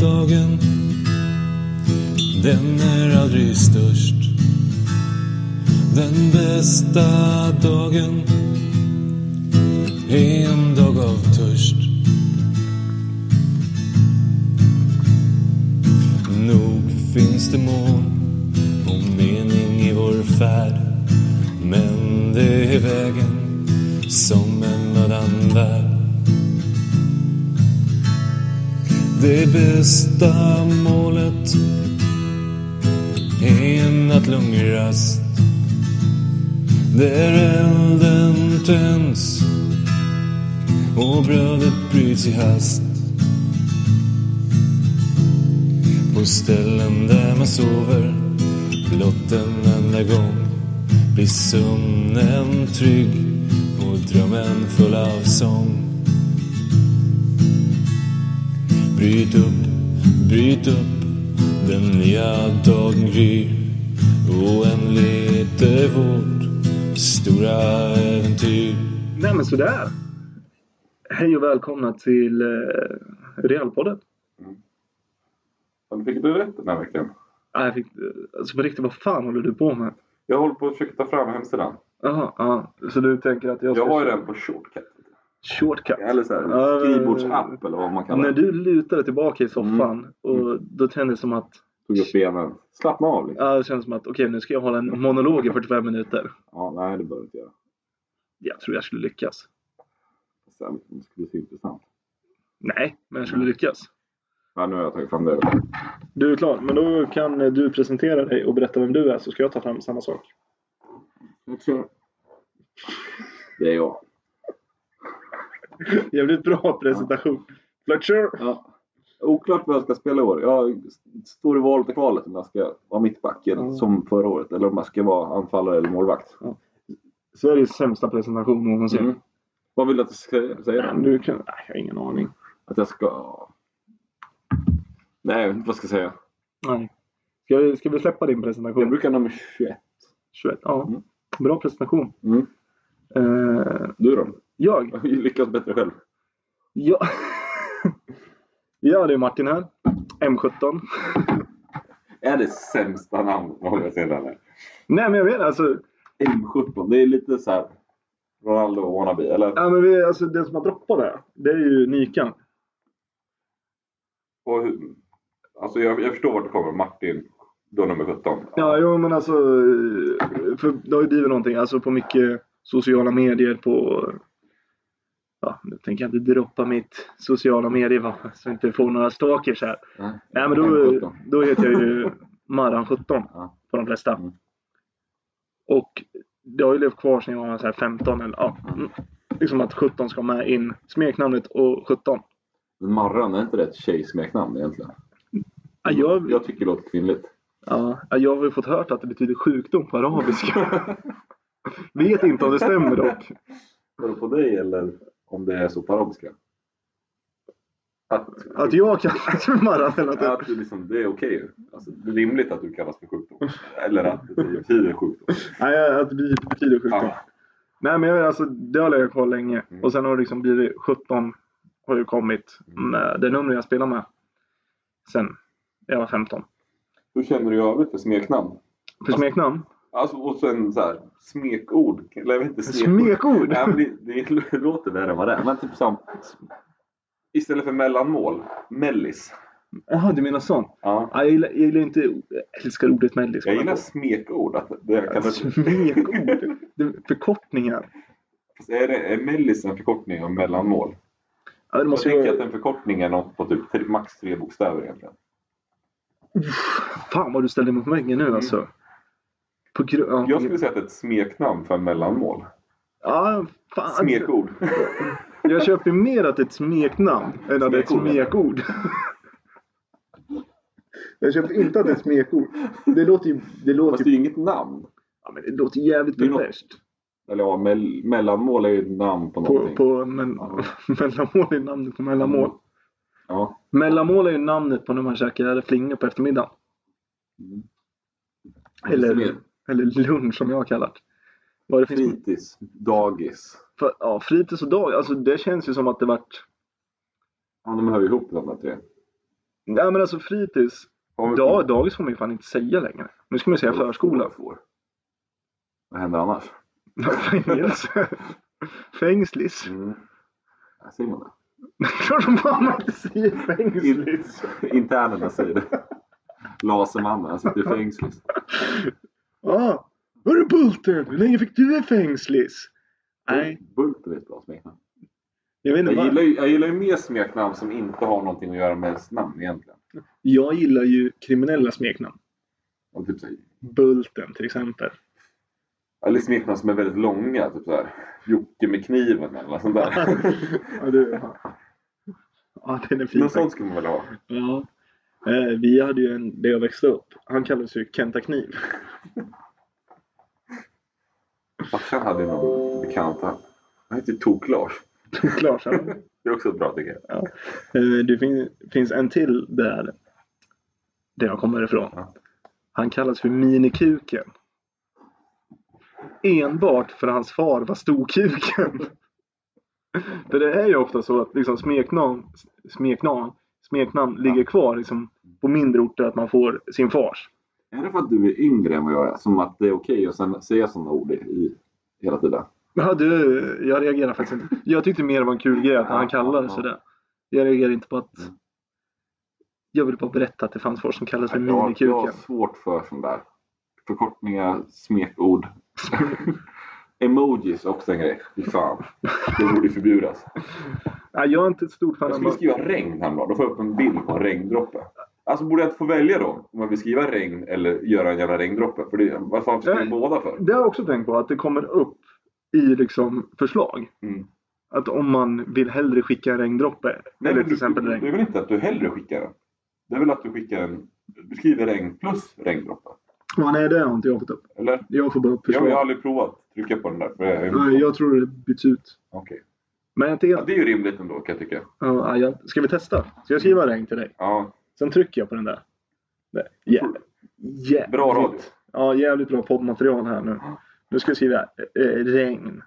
dagen den är aldrig störst. Den bästa dagen är en dag av törst. Nog finns det mål och mening i vår färd. Men det är vägen som en annan värld. Det bästa målet är en nattlugn rast. Där elden tänds och brödet bryts i hast. På ställen där man sover blott en enda gång blir sömnen trygg och drömmen full av sång. Bryt upp, bryt upp, den nya dagen gryr. Oändligt är vårt stora äventyr. Nej men sådär. Hej och välkomna till eh, Realpodden. Ja, det fick du rätt den här veckan. Ah, jag fick, alltså på riktigt, vad fan håller du på med? Jag håller på att försöka ta fram hemsidan. Jaha, ja. Så du tänker att jag Jag ska... har ju den på shortcut. Shortcut. Eller så Ja, här, skrivbordsapp eller vad man kallar När det. du lutade tillbaka i soffan och då kändes det som att, Tog upp benen. Slappna av liksom. ja, det kändes som att okej nu ska jag hålla en monolog i 45 minuter. Ja, nej det behöver du inte göra. Jag tror jag skulle lyckas. Sen det skulle det se intressant. Nej, men jag skulle lyckas. Ja, nu har jag tagit fram det. Du är klar, men då kan eh, du presentera dig och berätta vem du är så ska jag ta fram samma sak. Det är jag. Jävligt bra presentation. Fletcher! Ja. Oklart vad jag ska spela i år. Jag står i valet och kvalet om jag ska vara mittback eller Mm. som förra året eller om jag ska vara anfallare eller målvakt. Sveriges sämsta presentation någonsin. Mm. Vad vill du att jag ska säga? Men Du kan... Nej, jag har ingen aning. Att jag ska... Nej, jag vet inte vad jag ska säga. Nej. Ska vi, ska vi släppa din Jag presentation? brukar nummer 21. 21. Ja. Mm. Bra presentation. Mm. Eh, Du då? jag? Jag lyckas bättre själv. Ja. ja, det är Martin här. M17. Är det sämsta namn på många ställen? Nej, men jag vet alltså. M17, det är lite så här Ronaldo wannabe, eller? Ja, men vi, alltså den som har droppat det, här, det är ju Nikan. Och hur, alltså jag, jag förstår vart det kommer. Martin, då nummer 17. Ja, jo, men alltså. För det har ju blivit någonting. Alltså på mycket sociala medier på... Ja, nu tänker jag inte droppa mitt sociala medier va? Så jag inte får några stalkers här. Nej, Nej, men då, då heter jag ju Marran17 Ja. på de flesta. Mm. Och det har ju levt kvar sedan jag var så här 15 eller ja. mm, Liksom att 17 ska med in. Smeknamnet och 17. Men Marran, är inte det ett tjejsmeknamn egentligen? Ja, jag, Jag tycker det låter kvinnligt. Ja, jag har ju fått hört att det betyder sjukdom på arabiska. Vet inte om det stämmer dock. Var det på dig eller om det är så på arabiska? Att, Att jag kallas för Marran eller något. att du liksom, det är okej. Alltså, det är rimligt att du kallas för sjukdom. Eller att det betyder sjukdom. Nej, att det betyder sjukdom. Ja. Nej, men jag vet, alltså, det har legat kvar länge. Mm. Och sen har det liksom blivit 17 har ju kommit Mm. med det nummer jag spelar med. Sen jag var 15. Hur känner du i övrigt för smeknamn? För smeknamn? Alltså, och sen så här, smekord. Eller jag vet inte, Smekord? Nej, men det, det låter värre än vad det är. Men typ som, istället för mellanmål, mellis. Jaha, du menar sånt? Ja. Ja, jag, gillar, jag gillar inte, jag älskar ordet mellis. Jag gillar smekord. Att det kan smekord. Det- Förkortningar. Fast är, det, är mellis en förkortning av mellanmål? Ja, det Jag måste tänker ju... att en förkortning är något på typ tre, max tre bokstäver egentligen. Fan vad du ställer mig på väggen nu alltså. På gru... ja, på Mm. Jag gru- skulle säga att det är ett smeknamn för mellanmål. Ja, fan. alltså- Smekord. Jag köper ju mer att det är ett smeknamn än att det är ett Smekord. smekord. Jag köper inte att det är ett smekord. Det låter ju... Det Fast låter, det ju, är ju inget namn. ja, men det låter jävligt Det är något- perverst. Eller ja, mell, mellanmål är ju ett namn på På, någonting. på men, Ja. mellanmål är namnet på Mm. mellanmål. Ja. Mellanmål är ju namnet på när man käkar flingor på eftermiddagen. Mm. Eller, eller lunch som jag har kallat. Vad det finns Fritids, dagis. för, ja, fritids och dag. Alltså det känns ju som att det vart... Ja, de hör ju ihop de här tre. Nej men alltså fritids. Om- Dag, dagis får man ju fan inte säga längre. Nu ska man ju säga förskola. Vad händer annars? Fängelse. Fängslis. Mm. Ja, Säger man det? Det är klart som fan man inte säger fängslis. Internerna säger det. Lasermannen, han sitter i fängslis. Ja. Hörru Bulten, hur länge fick du i fängslis? Nej, Bulten är ett bra smeknamn. jag vet inte Jag vad. gillar, ju, jag gillar ju mer smeknamn som inte har någonting att göra med ens namn egentligen. Jag gillar ju kriminella smeknamn. Och typ så här, Bulten till exempel. eller smeknamn som är väldigt långa. Typ så här, Jocke med kniven eller något sånt där. ja, du. Ja, den är fin. Något sånt skulle man väl ha. Ja. Eh, vi hade ju en, där jag växte upp. Han kallades ju Kenta Kniv. Farsan hade ju någon bekant. Han han hette Tok-Lars. Klart, eh, Det är också ett bra tycker jag. Det fin, finns en till där, där jag kommer ifrån. Ja. Han kallas för Minikuken. Enbart för hans far var Storkuken. för det är ju ofta så att liksom smeknamn, smeknamn, smeknamn ligger kvar liksom på mindre orter att man får sin fars. Är det för att du är yngre än vad jag är? Som att det är okej att sen säga sådana ord i, i, hela tiden? Ja, du, jag reagerar faktiskt inte. Jag tyckte mer det var en kul grej att han kallade det sådär. Jag reagerar inte på att... Mm. Jag ville bara berätta att det fanns folk som kallades för jag, har- jag har minikuken. svårt för sådana där förkortningar, smekord. Emojis är också en grej. Fy fan. Det borde förbjudas. Nej, jag är inte ett stort fan Jag av... skulle skriva regn häromdagen. Då får jag upp en bild på en regndroppe. Alltså borde jag inte få välja då? Om jag vill skriva regn eller göra en jävla regndroppe? För det, vad fan ska jag Nej. båda för? Det har jag också tänkt på, att det kommer upp i liksom förslag. Mm. Att om man vill hellre skicka en regndroppe. Nej, eller men till du, exempel det regn. är väl inte att du hellre skickar den? Det är väl att du skickar en... Du skriver regn plus regndroppe? Ja, nej, det har inte jag fått upp. Eller? Jag får bara upp Jag, förslag. jag har aldrig provat trycka på den där. För jag, Nej, jag tror det byts ut. Okej. Men jag är inte ja, helt... det är ju rimligt ändå kan jag tycka. Ja, nej, jag... Ska vi testa? Ska jag skriva regn till dig? Ja, Sen trycker jag på den där. Nej, jä- Jävligt. bra radio. Ja, jävligt bra poddmaterial här nu. Nu ska jag skriva eh, regn.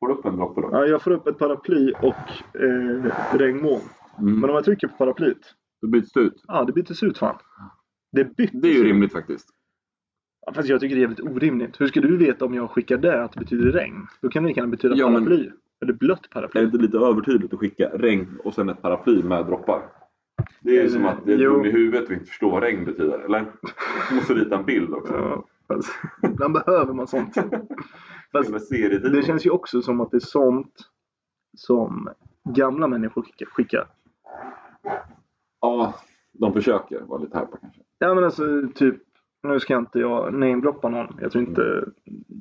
Får du upp en droppe då? Ja, jag får upp ett paraply och eh, regnmoln. Men Mm. om jag trycker på paraplyt. Då byts det ut. Ja, det byttes ut fan. Det byttes Det är ju ut. rimligt faktiskt. Ja, fast jag tycker det är jävligt orimligt. Hur ska du veta om jag skickar det att det betyder regn? Då kan det lika gärna betyda Ja, men- paraply. Eller blött Är paraply. det inte lite övertydligt att skicka regn och sen ett paraply med droppar? Det är ju Eh, som att det är jo. dum i huvudet och inte förstår vad regn betyder. Eller? Du måste rita en bild också. Ja, fast, ibland behöver man sånt. Fast, Eller serietidning. Det känns ju också som att det är sånt som gamla människor skickar- skickar. Ja, de försöker vara lite härpa kanske. Ja men alltså typ, nu ska jag inte jag namedroppa någon. Jag tror inte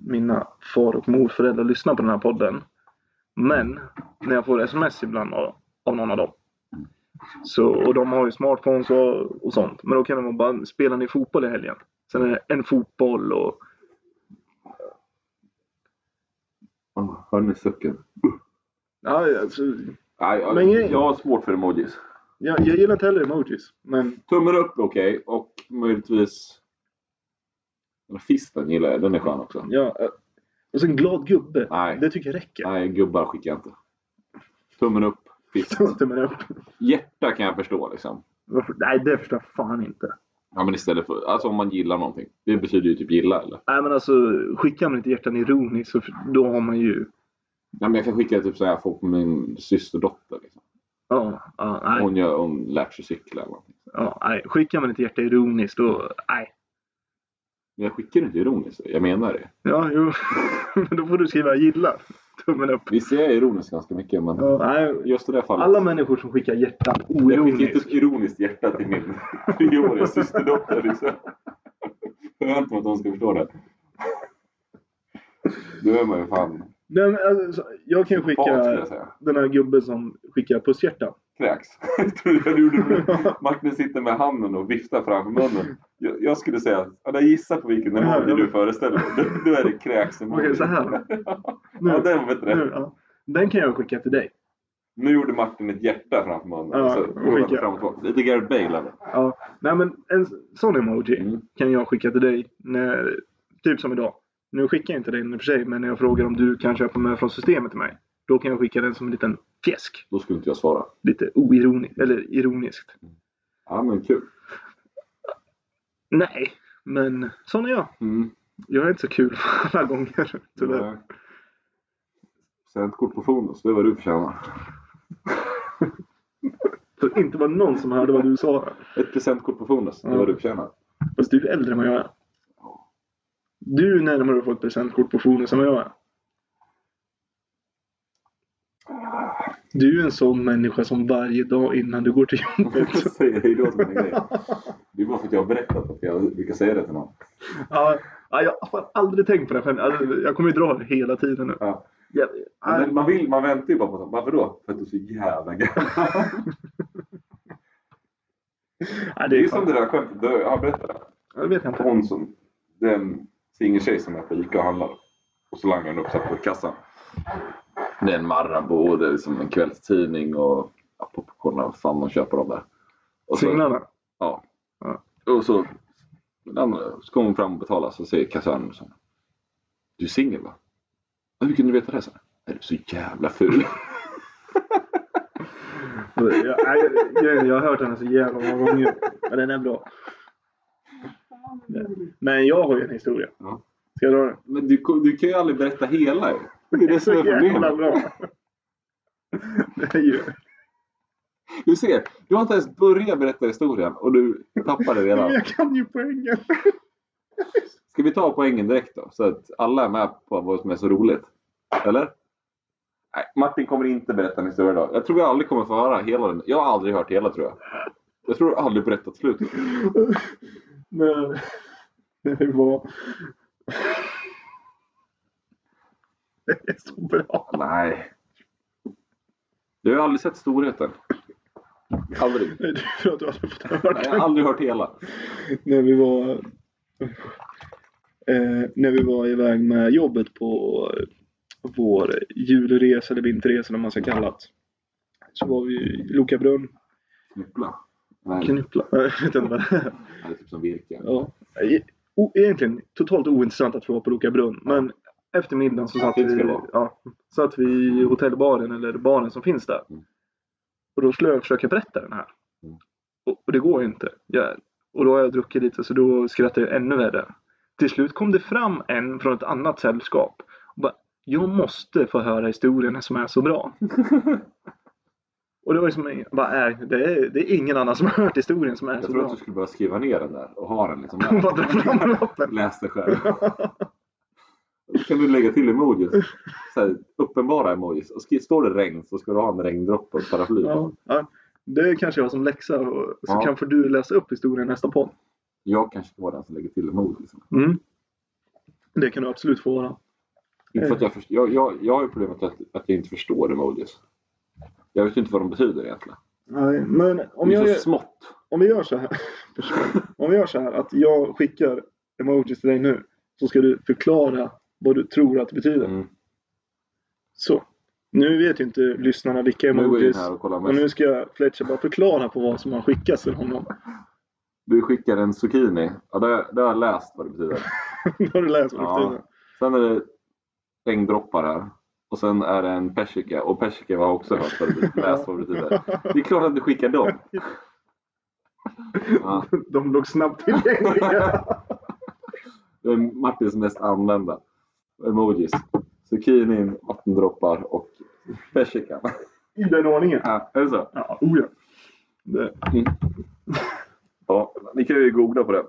mina far och morföräldrar lyssnar på den här podden. Men när jag får sms ibland av, av någon av dem. Så, och de har ju smartphones och, och sånt. Men då kan de bara, spelar ni fotboll i helgen? Sen är det en fotboll och... Oh, hör ni sucken? Ja, alltså, Nej, jag, Men grejen- jag har svårt för emojis. jag, jag gillar inte heller emojis. Men Tummen upp är okej och möjligtvis... Eller Fisten gillar jag, den är skön också. ja. eh, Och så en glad gubbe. Nej. Det tycker jag räcker. Nej, gubbar skickar jag inte. Tummen upp, fist. Tummen upp. Hjärta kan jag förstå liksom. Varför? Nej, det förstår jag fan inte. Ja, men istället för... Alltså om man gillar någonting. Det betyder ju typ gilla eller? Nej men alltså, skickar man inte hjärtan ironiskt så då har man ju... Nej, men jag kan skicka typ så här folk på min systerdotter. Liksom. Ja, ja, nej, Hon, gör, hon lärt sig cykla eller någonting. ja, nej. Skickar man inte hjärta ironiskt då... Nej. Men jag skickar inte ironiskt. Jag menar det. Ja, jo. Men då får du skriva gilla. Tummen upp. Visst, jag är ironisk ganska mycket men Ja, nej. just i det här fallet. Alla människor som skickar hjärtan Jag skickar inte oironiskt. ett typ ironiskt hjärta till min treåriga systerdotter. Liksom. Skönt att hon ska förstå det. Då är man ju fan Nej, men alltså, jag kan ju barn skulle skicka jag säga. den här gubben som skickar pusshjärtan. Kräks. Tror du jag gjorde det? Martin sitter med handen och viftar framför munnen. Jag, jag skulle säga, ja, där gissa på vilken emoji du föreställer dig. Då- Då är det kräks Okej, så här. Nu, Ja, den var bättre. nu, Nu. ja. Den kan jag skicka till dig. gjorde Martin ett hjärta framför munnen. Ja, så och rullade skicka. fram och tillbaka. Lite Gareth Bale. eller? Ja. Nej men en sån emoji. Mm. kan jag skicka till dig. När, typ som idag. Nu skickar jag inte den i och för sig, men när jag frågar om du kan köpa med från systemet till mig. Då kan jag skicka den som en liten fjäsk. Då skulle inte jag svara. Lite oironiskt, eller ironiskt. Ja, men kul. Nej, men sån är jag. Mm. Jag är inte så kul alla gånger, tyvärr. Nej. Sänd kort på Fonus, det är vad du förtjänar. Så det inte var någon som hörde vad du sa. Ett presentkort på Fonus, det är vad du förtjänar. Fast du är äldre än vad jag är. Du är närmare att få ett presentkort på Fonus än vad jag är. Du är en sån människa som varje dag innan du går till jobbet. Säger hej då till mina grejer. Det är bara för att jag har berättat att jag brukar säga det till någon. Ja, ja, jag har fan aldrig tänkt på det. här. Alltså, jag kommer ju dra det hela tiden nu. Ja. Ja, Men man, vill, man väntar ju bara på sånt. Varför då? För att du är så jävla gammal. ja, Det det är är ju som fan, det där skämtet. Det har Jag berättade. jag vet inte. Hon som, den singeltjej som är på ICA och handlar. Och så langar hon upp så här på kassan. Det är en Marabou, det är liksom en kvällstidning och ja, popcorn och vad fan de köper dem där. Och så- Singlarna. Ja. Ja. Och så, så kommer hon fram och betalar så säger kassören så här, Du är singel va? "Ja, Hur kunde du veta det? Så här, är du så jävla ful? Jag, jag, jag har hört den så jävla många gånger. Men den är bra. Men jag har ju en historia. Ja. Ska jag dra den? Men du, ko- du kan ju aldrig berätta hela ju. Det är det som är jävla problemet. bra. Det är ju... Du ser, du har inte ens börjat berätta historien och du tappar det Men redan. jag kan ju poängen. Ska vi ta poängen direkt då? Så att alla är med på vad som är så roligt. Eller? Nej, Martin kommer inte berätta en historia idag. Jag tror vi aldrig kommer få höra hela den. Jag har aldrig hört hela tror jag. Jag tror du aldrig berättat slutet. Men, det var... Det är så bra. Nej. Du har aldrig sett storheten. Aldrig. Nej, Det är för att du aldrig fått höra Nej, jag har den. aldrig hört hela. När vi var... Eh, när vi var iväg med jobbet på eh, vår julresa eller vinterresa eller vad man ska kalla det. Så var vi i Lokabrunn. Knyppla. Nej, det Knyppla. Jag vet inte vad det är. är typ som virke. Ja. E- o- Egentligen totalt ointressant att vi var på Loka brunn. Men efter middagen så satt Det ska vi, det vara. ja, satt vi i hotellbaren eller baren som finns där. Mm. Och då skulle jag försöka berätta den här. Mm. Och, och det går ju inte. Jag, och då har jag druckit lite så då skrattar jag ännu värre. Till slut kom det fram en från ett annat sällskap. Och bara, jag måste få höra historien som är så bra. och det var ju som, en- bara, "Nej, det, är, det är ingen annan som har hört historien som är Jag så tror att bra. du skulle börja skriva ner den där och ha den liksom Hon bara drar där. fram lappen. Läs det själv. Då kan du lägga till emojis. Så här, uppenbara emojis. Och skri- står det regn så ska du ha en regndroppe och ett paraply. Ja, ja. Det kanske jag har som läxa. och- Så Ja. kanske du läsa upp historien i nästa podd. Mm. Jag kanske ska vara den som lägger till emojis. Det kan du absolut få vara. Inte Mm. för att jag, först- jag, jag, jag har ju problemet att, att jag inte förstår emojis. Jag vet ju inte vad de betyder egentligen. Nej, men om, det är jag så gör, smått. om vi gör så här. om vi gör så här att jag skickar emojis till dig nu. Så ska du förklara vad du tror att det betyder. Mm. Så. Nu vet ju inte lyssnarna vilka Nu går jag in emojis. här och kollar Och mest. nu ska Fletcher bara förklara på vad som har skickats till honom. Du skickar en zucchini. Ja, det, det har jag läst vad det betyder. Nu har du läst vad det Ja. betyder. Sen är det regndroppar här. Och sen är det en persika. Och persika har jag också hört vad det betyder. läst vad det betyder. Det är klart att du skickar dem. Ja, De låg snabbt tillgängliga. det är Martins mest använda emojis. Zucchinin, vattendroppar och persikan. I den ordningen. Ja, är det så? Ja, oh ja. Det. Ja, ni kan ju googla på det.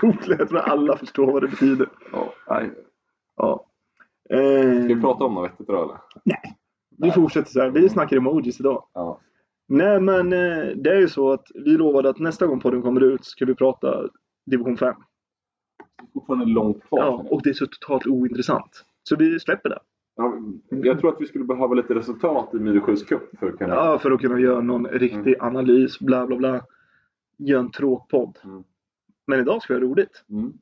Googla, jag tror alla förstår vad det betyder. Ja, nej. Ja. Eh, Ska vi prata om något vettigt då eller? vi fortsätter så här. Vi snackar emojis idag. Ja. Nej, men eh, det är ju så att vi lovade att nästa gång podden kommer ut ska vi prata division 5. Det är fortfarande långt kvar. Ja, känner jag. och det är så totalt ointressant. Så vi släpper det. Ja, jag tror att vi skulle behöva lite resultat i Myresjös cup för att kunna... Ja, för att kunna göra någon Mm. riktig analys, bla bla bla. Göra en tråkpodd. Mm. Men idag ska vi ha roligt. Mm.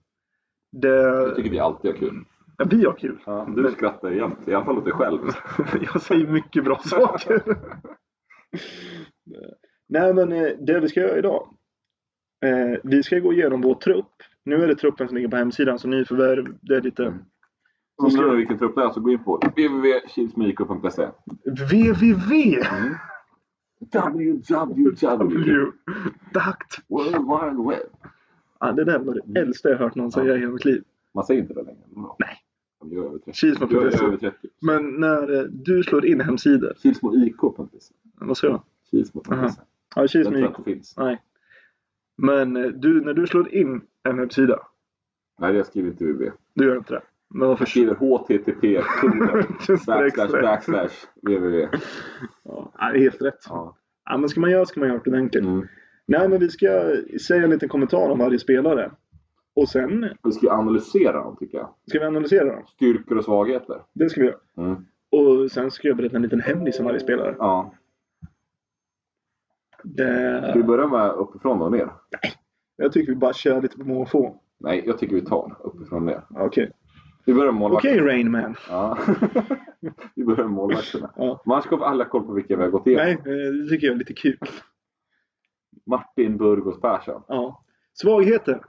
Det Det... tycker vi alltid är kul. Ja, vi har kul. Du skrattar ju jämt, i alla fall åt dig själv. Jag säger mycket bra saker. Nej men eh, det vi ska göra idag. Eh, vi ska gå igenom vår trupp. Nu är det truppen som ligger på hemsidan så nyförvärv. Det är lite Undrar du vilken trupp det är så gå in på www.kilsmyko.se. www. www. Dakt. World Wide Web. Ja, det där var det äldsta jag hört någon säga i hela mitt liv. Man säger inte det längre. men bra. Nej. De gör över 30. Kilsmo De gör .se. över 30. Men när eh, du slår in hemsidor, Kilsmo IK.se. vad sa jag? Kilsmo.se. Ja, Den Kilsmo tror jag IK. inte finns. Nej. Men eh, du, när du slår in en hemsida, Nej, jag skriver inte UB. du gör inte det. Men varför? Jag skriver http kolon, Streck, backslash streck. backslash www. Ja, det är helt rätt. Ja. Ja, men ska man göra ska man göra det enkelt. Mm. Nej, men vi ska säga en liten kommentar om varje spelare. Och sen Vi ska ju analysera dem tycker jag. ska vi analysera dem. Styrkor och svagheter. Det ska vi göra. Mm. Och sen ska jag berätta en liten hemlis om varje spelare. Ja. Ska vi Det... börja med uppifrån och ner? Jag tycker vi bara kör lite på måfå. Nej, jag tycker vi tar uppifrån och ner. Okej. Vi börjar med målvakterna. Okej, Rainman. Ja. vi börjar med målvakterna. Ja. Man ska få alla koll på vilka vi har gått igenom. Nej, eh, det tycker jag är lite kul. Martin Burgos Persson. Ja. Svagheter.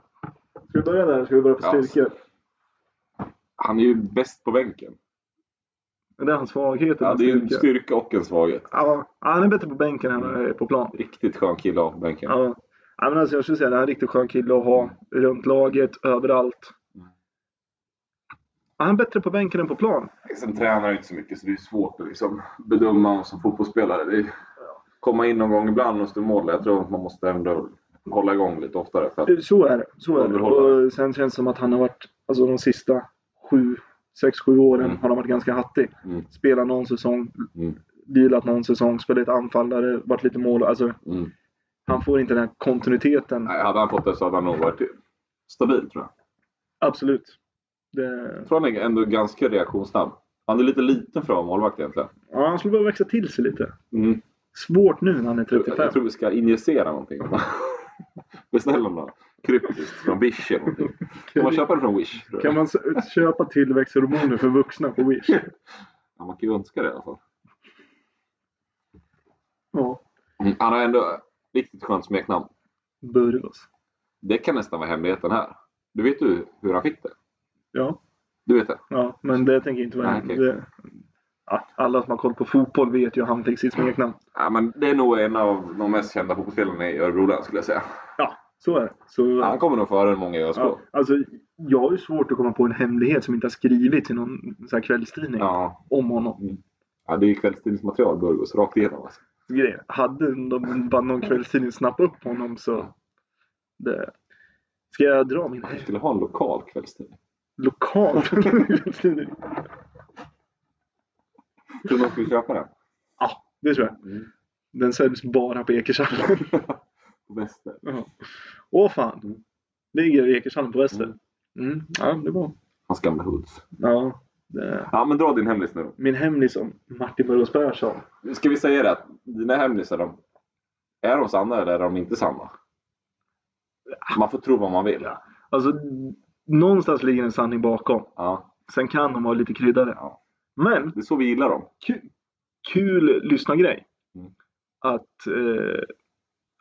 Ska vi börja där? Ska vi börja på Ja. styrkor? Han är ju bäst på bänken. Det är hans svagheter. Ja, det är ju en styrka. styrka och en svaghet. Ja, han är bättre på bänken än han är på plan. Riktigt skön kille av bänken. Ja. Ja, men alltså, jag skulle säga att det här är en riktigt skön kille att ha runt laget, överallt. Mm. Ja, han är bättre på bänken än på plan. Sen tränar han ju inte så mycket så det är svårt att liksom bedöma honom som fotbollsspelare. Det är, komma in någon gång ibland och stå i mål. Jag tror att man måste ändå hålla igång lite oftare. För att, Så är det. Så är det. Underhållare. Och sen känns det som att han har varit, alltså de sista sju, sex, sju åren Mm. har han varit ganska hattig. Mm. Spelat någon säsong, Mm. vilat någon säsong, spelat lite anfallare, varit lite mål. Alltså, mm. han får inte den här kontinuiteten. Nej, hade han fått det så hade han nog varit stabil tror jag. Absolut. Det, Jag tror han är ändå ganska reaktionssnabb. Han är lite liten för att vara målvakt egentligen. ja, han skulle behöva växa till sig lite. Mm. Svårt nu när han är Jag, 35. jag tror vi ska injicera någonting. Beställa något kryptiskt från Wish eller någonting. Kan man köpa det från Wish? Tror jag. Kan man s- köpa tillväxthormoner för vuxna på Wish? Ja, man kan ju önska det alltså. i alla fall. Ja. Mm. Han har ändå riktigt skönt smeknamn. Burgos. Det kan nästan vara hemligheten här. Du vet ju hur han fick det? Ja, Du vet det? ja, men det tänker jag inte vara... Nej, okej. det- Ja, alla som har koll på fotboll vet ju hur han fick sitt smeknamn. Ja, men det är nog en av de mest kända fotbollsspelarna i Örebro län skulle jag säga. Ja, så är det. Så, Han kommer nog före många i ÖSK. ja, alltså, jag har ju svårt att komma på en hemlighet som inte har skrivits i någon så här kvällstidning Ja. om honom. ja, det är ju kvällstidningsmaterial Burgos rakt igenom. Alltså. Grejer. Hade de bara någon kvällstidning snappat upp honom så... Det... Ska jag dra min Han skulle ha en lokal kvällstidning. lokal kvällstidning? Tror du man skulle köpa den? Ja, det tror jag. Mm. Den säljs bara på Ekershallen. På Väster. Ja. Åh Mm. fan. Ligger i Ekershallen på väster. Mm. Ja, det var. Hans gamla Hults. Ja. Det. Ja, men dra din hemlis nu. Min hemlis om Martin Burgos Persson. då. Ska vi säga det att dina hemlisar, de, är de sanna eller är de inte sanna? Man får tro vad man vill. Alltså, någonstans ligger en sanning bakom. Ja, Sen kan de vara lite kryddade. Ja. Men det är så vi gillar dem. kul, kul lyssnargrej. Mm. Att eh,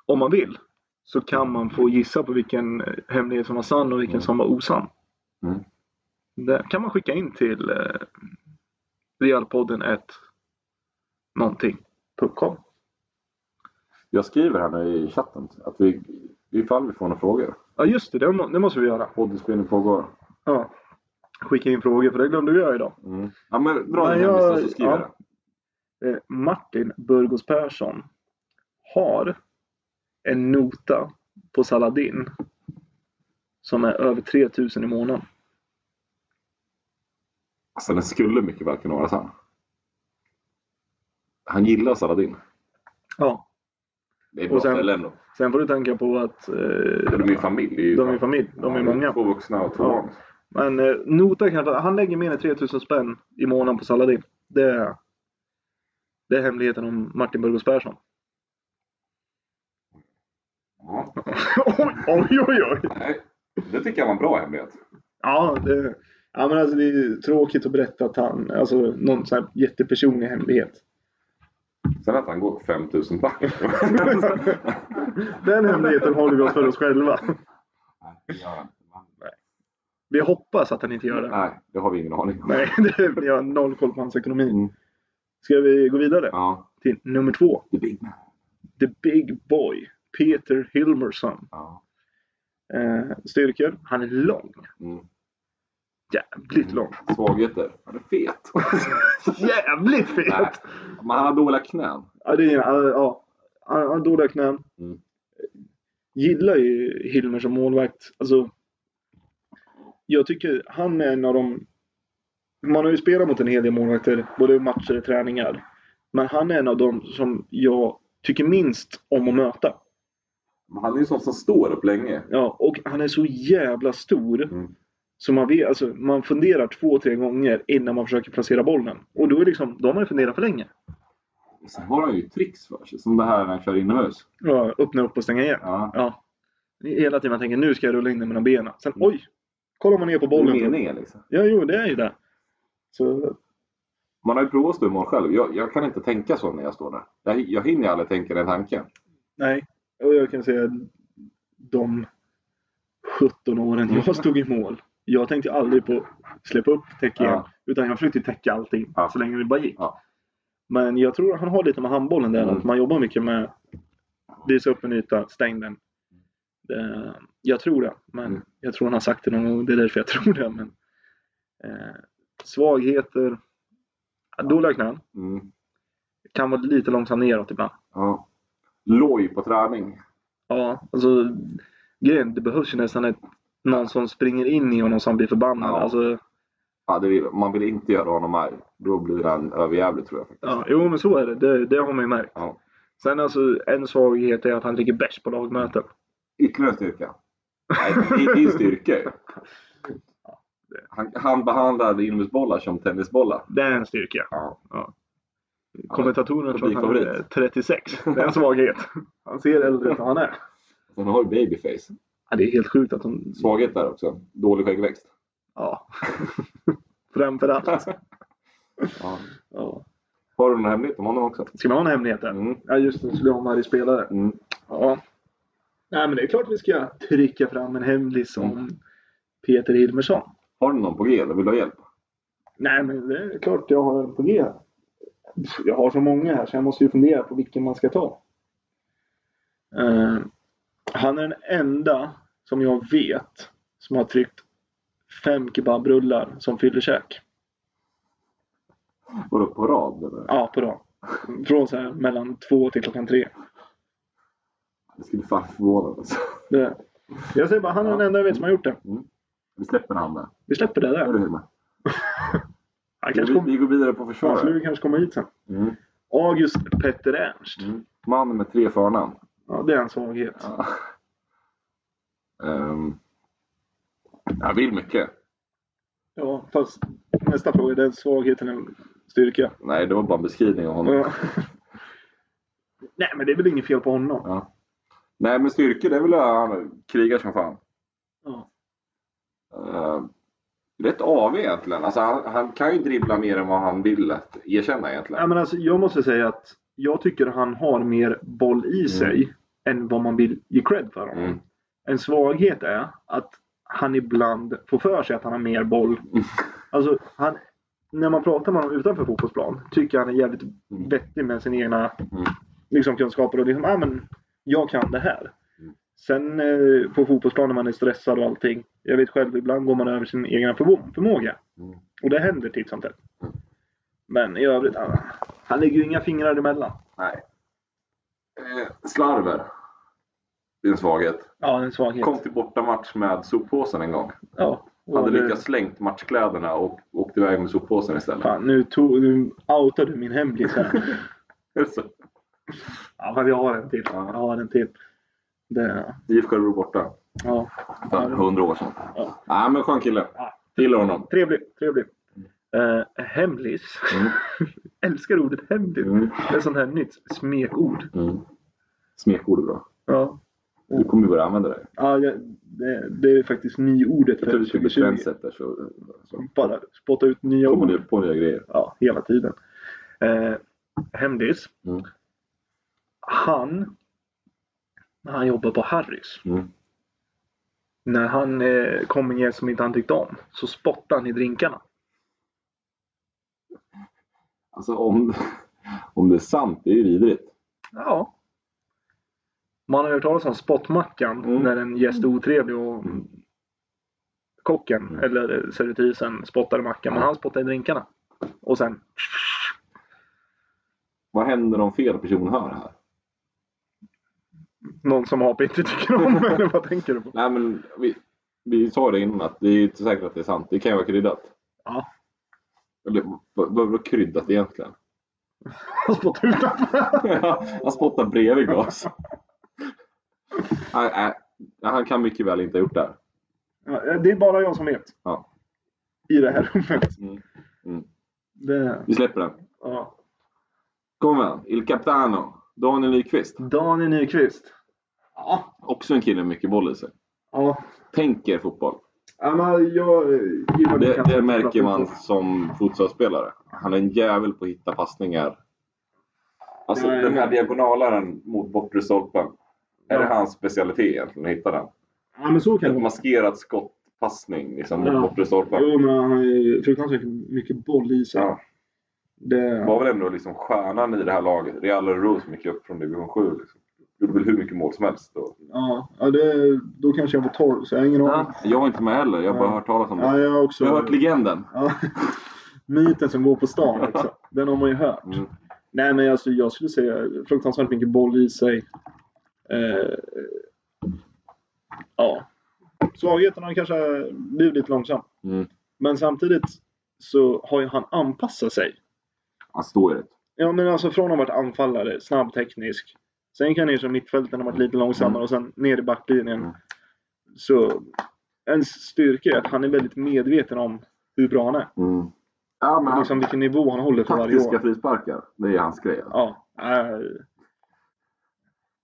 om man vill så kan man få gissa på vilken eh, hemlighet som var sann och vilken Mm. som var osann. Mm. Det kan man skicka in till eh, realpodden 1 någonting. .com. Jag skriver här nu i chatten att vi, ifall vi får några frågor. Ja just det, det, må, det måste vi göra. Poddinspelning pågår. Ja. Skicka in frågor för det glömde jag idag. Mm. Ja, men dra Nej, din jag- hemlis så skriver ja. jag det. eh, Martin Burgos Persson har en nota på Saladin som är över 3000 i månaden. Alltså den skulle mycket väl kunna vara sann. Han gillar Saladin. Ja. Det är Och bra sen- ställe ändå. Sen får du tänka på att eh, De är ju familj. det är ju de är fan- familj, de är Ja, många. Två vuxna och två Ja. barn. Men eh, nota kanske, han lägger mer än 3000 spänn i månaden på Saladin. Det är, det är hemligheten om Martin Burgos Persson. Ja. oj, oj, oj, oj! Nej, det tycker jag var en bra hemlighet. Ja, det, ja men alltså, det är tråkigt att berätta att han, alltså någon sån här jättepersonlig hemlighet. Sen att han går 5000 back. Den hemligheten håller vi oss för oss själva. Nej, det gör han inte. Vi hoppas att han inte gör det. Nej, det har vi ingen aning om. Nej, det, vi har noll koll på hans ekonomi. Mm. Ska vi gå vidare Ja, till nummer två? the big man. The Big Boy, Peter Hilmerson. Ja. Eh, styrkor, han är lång. Mm. Jävligt lång. Svagheter? Han är fet. Jävligt Nej. fet! Men han har dåliga knän. Ja, det är, ja, ja, han har dåliga knän. Mm. Gillar ju Hilmer som målvakt. Alltså, jag tycker han är en av de... Man har ju spelat mot en hel del målvakter, både i matcher och träningar. Men han är en av de som jag tycker minst om att möta. Men han är ju sån som står upp länge. Ja, och han är så jävla stor. Mm. Så man, vet, alltså, man funderar två, tre gånger innan man försöker placera bollen. Och då, är liksom, då har man ju funderat för länge. Sen har han ju tricks för sig. Som det här när han kör inomhus. Ja, öppna upp och stänga igen. Ja. Ja. Hela tiden man tänker nu ska jag rulla in den mellan benen. Sen oj! Kollar man ner på Bollen. bollen. Meningen liksom. Ja, jo, det är ju det. Så, Man har ju provat att stå i mål själv. Jag, jag kan inte tänka så när jag står där. Jag, jag hinner ju aldrig tänka den tanken. nej. Och jag kan säga de 17 åren Mm. jag stod i mål. Jag tänkte aldrig på släppa upp, täcka igen. Ja. Utan jag försökte täcka allting Ja. så länge det bara gick. Ja. Men jag tror han har lite med handbollen där. Mm. Att man jobbar mycket med visa upp en yta, stäng den. Det, jag tror det. Men Mm. jag tror han har sagt det någon gång. Det är därför jag tror det. Men, eh, svagheter. Dåliga knän. Mm. Kan vara lite långsam neråt ibland. Ja. Loj på träning. Ja, alltså grejen, det behövs ju nästan ett, någon som springer in i honom som blir förbannad. Ja. Alltså, Ja, det vill, man vill inte göra honom arg. Då blir han överjävlig tror jag. faktiskt. ja, jo, men så är det. det. Det har man ju märkt. Ja. Sen alltså, en svaghet är att han ligger bäst på lagmöten. Ytterligare en styrka. Nej, det är din styrka ju. han, han behandlar inomhusbollar som tennisbollar. Det är en styrka. Ja. Kommentatorerna tror att han publikfavorit. är 36. Det är en svaghet. Han ser äldre ut än han är. Sen har ju babyface. Ja, det är helt sjukt att de... Svaghet där också. Dålig skäggväxt. Ja. Framför allt. Ja. Ja. Har du någon hemlighet om honom också? Ska man ha en hemlighet där? Mm. Ja, just det. Skulle jag ha en arg spelare. Mm. Ja. Nej, men det är klart vi ska trycka fram en hemlis om Mm. Peter Hilmersson. Har du någon på G eller vill du ha hjälp? Nej, men det är klart jag har en på G. här. Jag har så många här så jag måste ju fundera på vilken man ska ta. Eh, han är den enda som jag vet som har tryckt fem kebabrullar som fyllekäk. Vadå, på rad? Eller? Ja, på dagen. Från så här mellan två till klockan tre. Det skulle fan förvåna mig. Det. Jag säger bara, han är den enda jag vet som har gjort det. Vi släpper han där. Vi släpper det Hör där. du Hilmer? Han kanske Vi, kommer vi går vidare på han skulle försvaret. kanske komma hit sen. Mm. August Petter Ernst. Mm. Man med tre förnamn. Ja, det är en svaghet. Ja. Ehm. Jag vill mycket. Ja, fast nästa fråga. Den svagheten är en styrka. Nej, det var bara en beskrivning av honom. Ja. Nej, men det är väl inget fel på honom. Nej, men styrkor, det är väl han krigar som fan. Ja. Eh, rätt av egentligen. Alltså, han, han kan ju dribbla mer än vad han vill att erkänna egentligen. Nej, men alltså, jag måste säga att jag tycker han har mer boll i sig än vad man vill ge cred för honom. Mm. En svaghet är att han ibland får för sig att han har mer boll. Alltså, han, när man pratar med honom utanför fotbollsplan tycker jag han är jävligt Mm. vettig med sina egna liksom, kunskaper. Och liksom, ah, men, jag kan det här. Mm. Sen eh, på fotbollsplan när man är stressad och allting. Jag vet själv, ibland går man över sin egna förmo- förmåga. Mm. Och det händer titt som tätt. Men i övrigt, ah, han lägger ju inga fingrar emellan. Nej. Eh, slarver. Det är en svaghet. Ja, det är en svaghet. Kom till bortamatch med soppåsen en gång. Ja, och eh, Hade det- lyckats slängt matchkläderna och åkte iväg med soppåsen istället. Fan, nu, tog, nu outade du min hemlis här. Så, ja, men jag har en till. Ja. Jag har en till. Det, IFK Örebro borta. ja. För Ja. hundra år sedan. Ja. Nej, men skön kille. Ja. Gillar honom. Trevlig, trevlig. Eh, hemlis. Mm. Älskar ordet hemlis. Mm. Det är sånt här nytt smekord. Mm. Smekord är bra. Ja. Oh. Du kommer ju börja använda det. Ja, det, det, det är faktiskt nyordet Jag tror för du skulle bli 2020. trendsetter så, så Bara spotta ut nya kommer ord du på nya grejer. ja, hela tiden. Eh, Hemlis. Mm. Han, när han jobbar på Harrys. Mm. När han eh, kom med en gäst som inte han tyckte om så spottade han i drinkarna. Alltså om, om det är sant, det är ju vidrigt. Ja, Man har hört talas om spottmackan Mm. när en gäst är otrevlig och Mm. kocken Mm. eller servitrisen spottade mackan. Men han spottade i drinkarna. Och sen... Vad händer om fel person hör det här? Någon som AP inte tycker om eller vad tänker du på? Nej, men vi, vi sa det innan att det är inte säkert att det är sant. Det kan ju vara kryddat. Ja. Eller v- vad vad var kryddat egentligen? Han spottade utanför. han spottar bredvid glas. nej, nej, han kan mycket väl inte ha gjort det här. Ja, Det är bara jag som vet. Ja. I det här rummet. Mm. Mm. Det, Vi släpper den. ja. Kom igen. Il Capitano. Daniel Nyqvist. Daniel Nyqvist. Ja. Också en kille med mycket boll i sig. ja. Tänker fotboll. Ja, men jag eh, gillar Det, kanske det inte märker bra man fotboll. som fotbollsspelare. Han är en jävel på att hitta passningar. Alltså Nej. den här diagonalaren mot bortre stolpen. Är Ja. det hans specialitet egentligen att hitta den? Ja, men så kan det Ett vara. maskerat skottpassning liksom, mot Ja. bortre stolpen. Jo, men han har ju fruktansvärt mycket boll i sig. Ja. Det, Var väl ändå liksom stjärnan i det här laget. Real Örebro som gick upp från division 7. Liksom. Gjorde väl hur mycket mål som helst. Och... ja, ja, det, då kanske jag var torr, så jag har ingen aning. Jag var inte med heller. Jag har bara Ja. hört talas om det. Ja, jag har också... Jag har hört legenden. ja. Myten som går på stan också. Den har man ju hört. Mm. Nej, men alltså, jag skulle säga fruktansvärt mycket boll i sig. Eh, ja. Svagheten har kanske blivit lite långsam. Mm. Men samtidigt så har ju han anpassat sig. Han står ju rätt. Ja, men alltså från att ha varit anfallare, snabb teknisk. Sen kan han ju som mittfältaren ha varit lite långsammare och sen ner i backlinjen. Mm. Så en styrka är att han är väldigt medveten om hur bra han är. Mm. Ja, men Och han, liksom vilken nivå han håller för varje taktiska år. frisparkar. Det är hans grej. Ja. Äh,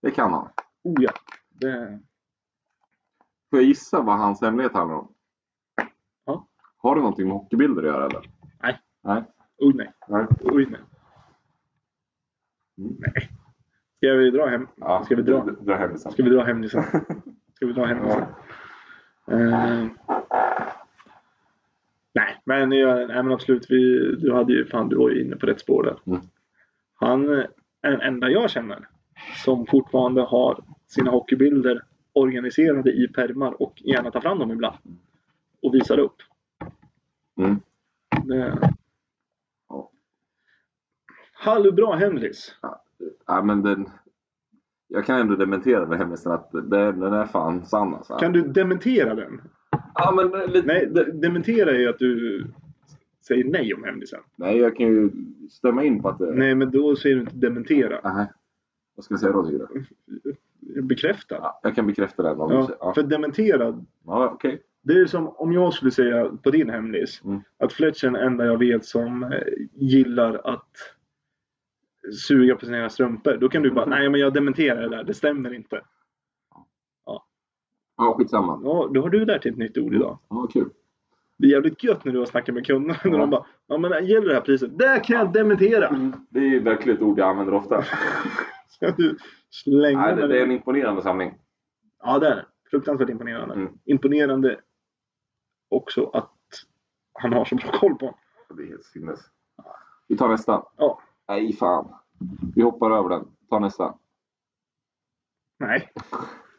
Det kan han. oh ja. Det, Får jag gissa vad hans hemlighet handlar om? Ja. Har det någonting med hockeybilder att göra eller? Nej. Nej. oh nej. Nej. Oj, nej. Mm. Nej. Ska vi dra hem? Ja, Ska vi dra? d- Dra hem det sen. Ska vi dra hemlisen? Ska vi dra hemlisen? Eh, nej, men, jag, nej, men absolut. Vi, du, hade ju, fan, du var ju inne på rätt spår där. Mm. Han eh, är den enda jag känner som fortfarande har sina hockeybilder organiserade i pärmar och gärna tar fram dem ibland. Och visar upp. Mm. Det- Ja. Hallå bra hemlis! Ja, men den... Jag kan ändå dementera den hemlisen att det- den är fan sann alltså. Kan du dementera den? Ja, men eh, lite... Nej, de- dementera är ju att du säger nej om hemlisen. Nej, jag kan ju stämma in på att det... Nej, men då säger du inte dementera. Nej. Vad ska jag säga då tycker du? Bekräfta. Ja, jag kan bekräfta den om du säger. Ja, Ja, för dementera, ja okej. det är som om jag skulle säga på din hemlis Mm. att Fletcher är den enda jag vet som eh, gillar att suga på sina strumpor. Då kan du bara, nej men jag dementerar det där, det stämmer inte. Ja, skitsamma. Ja, då har du lärt dig ett nytt ord idag. Ja, kul. Det är jävligt gött när du har snackat med kunderna och Ja. Mm. de bara, ja men gäller det här priset? Det kan jag dementera! Det är ju verkligen ett ord jag använder ofta. Ska du slänga Nej, det, med det är en imponerande samling. Ja, det är det. Fruktansvärt imponerande. Mm. Imponerande också att han har så bra koll på honom. Det är helt sinnes. Vi tar nästa. Ja. Nej, fan. Vi hoppar över den. Ta nästa. Nej.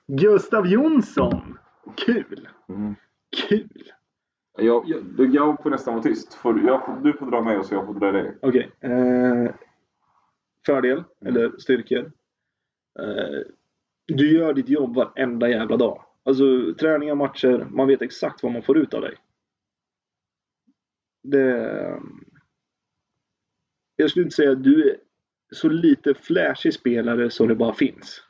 Gustav Jonsson! Kul! Kul! Jag, jag, jag får nästan vara tyst. Får, jag, får- du får dra mig och så jag får dra dig. Okej. Eh, fördel, Mm. eller styrkor. Eh, du gör ditt jobb varenda jävla dag. Alltså träningar, matcher, man vet exakt vad man får ut av dig. Det... eh, Jag skulle inte säga att du är så lite flashig spelare så det bara finns.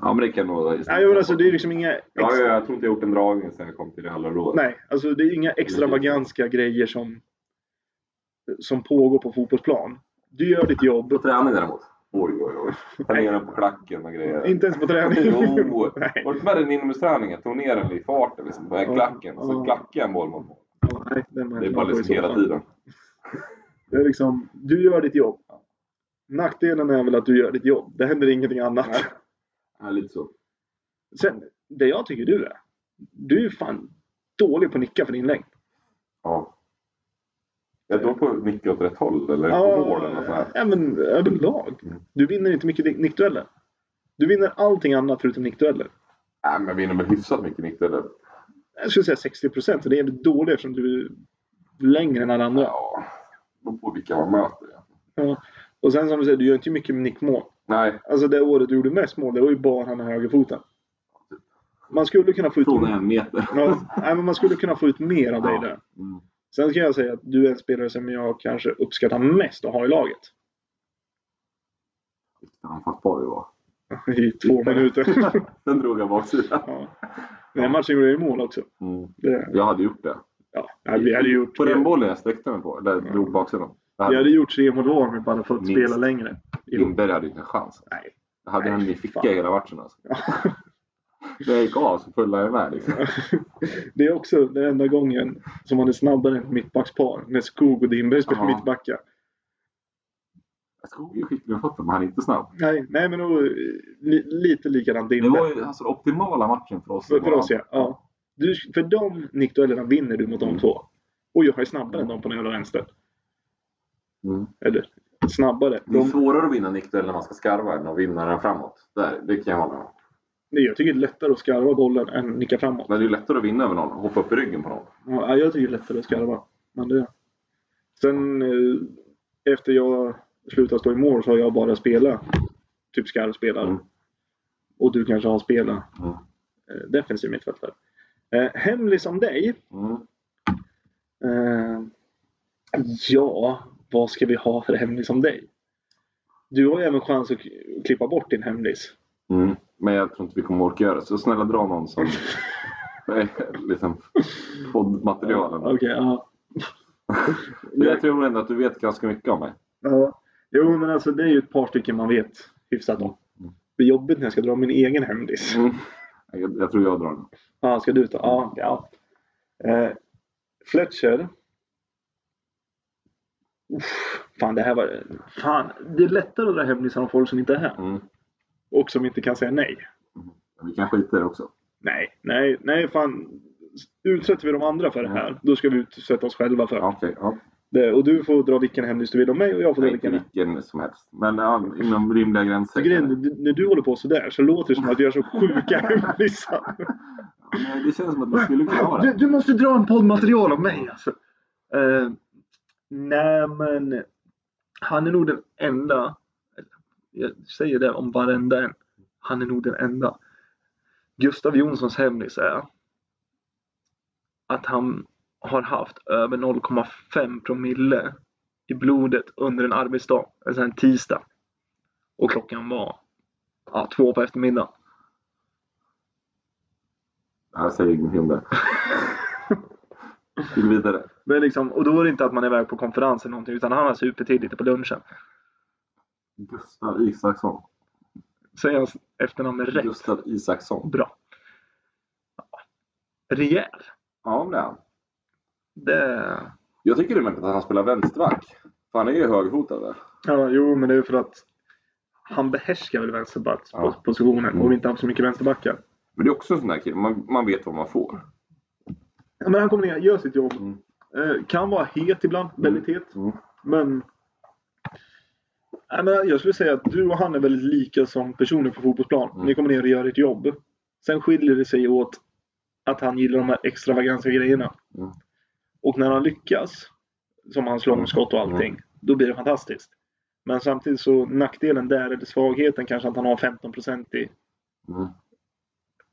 Ja, men det kan nog... Nej, men alltså det är liksom inga... Ja, ex- ja, jag tror inte jag gjort en dragning sen jag kom till det här rådet. Nej, alltså det är inga extravaganska grejer som, som pågår på fotbollsplan. Du gör ditt jobb. På träning däremot. Oj, oj, oj. Ta ner den på klacken och grejer. Inte ens på träning. Jo! Nej. Var du med den inomhusträningen? Tog ner den i farten liksom, på Ja. klacken och så Ja. klackade en boll mot mål. Ja, nej, den var Det är jag bara på i liksom så hela fall. tiden. Det är liksom, du gör ditt jobb. Nackdelen är väl att du gör ditt jobb. Det händer ingenting annat. Nej. Ja, lite så. Sen, det jag tycker du är. Du är fan dålig på att nicka för din längd. Ja. Jag tror på mycket åt rätt håll eller på mål eller något sånt här. ja, men överlag. Mm. Du vinner inte mycket nick- nickdueller. Du vinner allting annat förutom nickdueller. Nej, men jag vinner väl hyfsat mycket nickdueller. Jag skulle säga 60 procent. Det är jävligt dåligt eftersom du är längre än alla andra. Ja, beror på vilka man möter. ja. Ja. Och sen som du säger, du gör inte mycket med nickmål. Nej, Alltså det året du gjorde mest mål, det var ju bara med högerfoten. typ. Man skulle kunna få ut... från en meter. Ja, nej, men man skulle kunna få ut mer av dig Ja. där. Mm. Sen ska jag säga att du är en spelare som jag kanske uppskattar mest att ha i laget. Vilken anfallspar vi var. I två minuter. Sen drog jag baksidan. Ja. Den här matchen gjorde jag ju mål också. Mm. Det, Jag hade gjort det. ja, vi hade gjort... På den bollen jag sträckte mig på, där jag drog baksidan. Vi Jag hade- hade gjort tre mål var om vi bara hade fått Minst. spela längre. Jo. Lindberg hade inte en chans. Nej. Jag hade Nej, henne i fy fickan fan. hela matchen alltså. När jag gick av så pullade jag med liksom. Det är också den enda gången som man är snabbare än ett mittbackspar. När Skog och Dimberg spelar Ja. mittbackar. Jag skog ju skicklig med fötterna men han är inte snabb. Nej, nej men då, li, lite likadant Det Dimberg. var ju alltså, den optimala matchen för oss. För, för oss ja. ja. Du, för de nickduellerna vinner du mot de Mm. två. Och jag är snabbare än dem på den jävla vänster. Mm. Eller snabbare. Det är De, svårare att vinna nickduell när man ska skarva än att vinna den framåt. Där, det kan jag hålla med om. nej, jag tycker det är lättare att skarva bollen än nicka framåt. Men det är ju lättare att vinna över någon och hoppa upp i ryggen på någon. Ja, jag tycker det är lättare att skarva. Men det... Sen eh, efter jag slutade stå i mål så har jag bara spelat. Typ skarvspelare. Mm. Och du kanske har spelat Mm. eh, defensiv mittfältare. Eh, hemlig som dig. Mm. Eh, ja, vad ska vi ha för hemlis som dig? Du har ju även chans att k- klippa bort din hemlis. Mm. Men jag tror inte vi kommer orka göra det. Så snälla dra någon som... Nej, liksom poddmaterialen. Okej, ja. Men Jag tror ändå att du vet ganska mycket om mig. ja. Jo, men alltså det är ju ett par stycken man vet hyfsat om. Det är jobbigt när jag ska dra min egen hemlis. Mm. Jag, jag tror jag drar den. Ja, ska du ta? Ja. ja. Eh, Fletcher. Uff, fan, det här var... Fan, det är lättare att dra hemlisar om folk som inte är här. Mm. Och som inte kan säga nej. Men Vi kan skita i det också. Nej, nej, nej fan. Utsätter vi de andra för det här, då ska vi utsätta oss själva för Mm. Ja, Okej, ja. det. Och du får dra vilken hemlis du vill om mig och jag får dra Nej, inte vilken hemlis. vilken som helst. Men ja, inom rimliga gränser. Grejen är, du- när du håller på sådär så låter det som att vi har så sjuka hemlisar. Men det känns som att man skulle kunna ha Du, det. du måste dra en poddmaterial om mig alltså. Eh, nej men. Han är nog den enda. Jag säger det om varenda en. Han är nog den enda. Gustav Jonssons hemlis är. Att han har haft över 0,5 promille i blodet under en arbetsdag. Alltså en tisdag. Och klockan var ja, två på eftermiddagen. Jag säger ingenting om det. Vi går vidare. Men liksom, och då var det inte att man är iväg på konferens eller någonting utan han har supertid lite på lunchen. Gustav Isaksson. Säger hans efternamn rätt? Gustav Isaksson. Bra. Ja. Rejäl. Ja, men det är han. Det... Jag tycker det är märkligt att han spelar vänsterback. För han är ju högerfotad där. Ja, jo, men det är för att han behärskar väl vänsterbackspositionen Ja. Mm. och vi inte haft så mycket vänsterbackar. Men det är också en sån där kille. Man, man vet vad man får. Ja, men han kommer ner, gör sitt jobb. Mm. Eh, kan vara het ibland, väldigt het. Mm. Men... Nej, men jag skulle säga att du och han är väldigt lika som personer på fotbollsplan. Mm. Ni kommer ner och gör ert jobb. Sen skiljer det sig åt att han gillar de här extravaganta grejerna. Mm. Och när han lyckas, som hans långskott och allting, Mm. då blir det fantastiskt. Men samtidigt så nackdelen där, eller svagheten kanske, att han har 15% i Mm.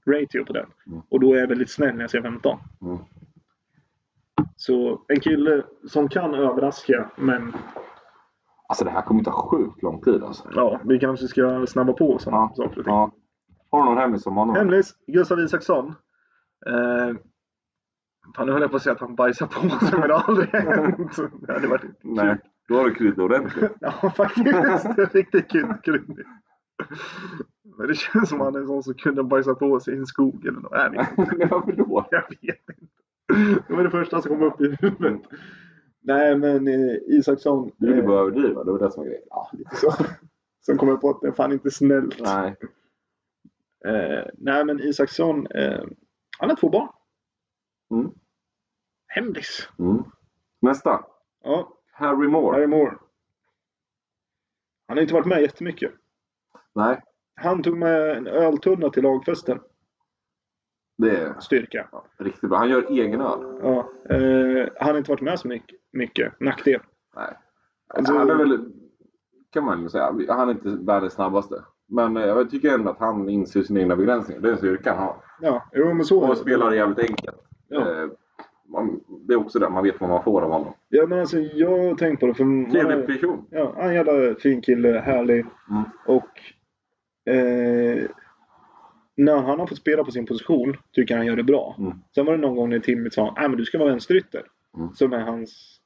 ratio på den. Mm. Och då är jag väldigt snäll när jag säger 15. Mm. Så en kille som kan överraska, men Alltså det här kommer ta sjukt lång tid alltså. ja, vi kanske ska snabba på sådana Ja. saker. och ting. Ja. Har du någon hemlis som honom? Hemlis, Gustav Isaksson. Eh, fan, nu höll jag på att säga att han bajsar på sig, men det har aldrig hänt. Det hade varit Nej, då har du kryddat ordentligt. Ja, faktiskt. Det är Riktigt kul. kul. Men det känns som att han är en sån som kunde bajsa på sig i en skog eller något. Nej, men Men Varför då? jag vet inte. Det var det första som kom upp i huvudet. Nej, men eh, Isaksson. Du ville eh, bara överdriva, det var det som var grejen. Ja, lite så. Sen kom jag på att det är fan inte snällt. Nej, Nej. eh, nej men Isaksson. Eh, han har två barn. Mm. Hemlis. Mm. Nästa. Ja, Harry Moore. Harry Moore. Han har inte varit med jättemycket. Nej. Han tog med en öltunna till lagfesten. Det är Styrka. ja, riktigt bra. Han gör egen öl. Ja. Eh, han har inte varit med så mycket. mycket. Nackdel. Nej. Alltså- han är väl, kan man ju säga, han är inte världens snabbaste. Men eh, jag tycker ändå att han inser sina egna begränsningar. Det är en styrka han har. Ja, jo men så är Och det. spelar jävligt enkelt. Mm. Ja. Eh, man, det är också det, man vet vad man får av honom. Ja, men alltså, jag har tänkt på det. För Trevlig person. Ja, han är en jävla fin kille, härlig. Mm. Och eh, när han har fått spela på sin position tycker jag han gör det bra. Mm. Sen var det någon gång när Timmy sa att men du ska vara vänsterytter. Mm. Som är hans,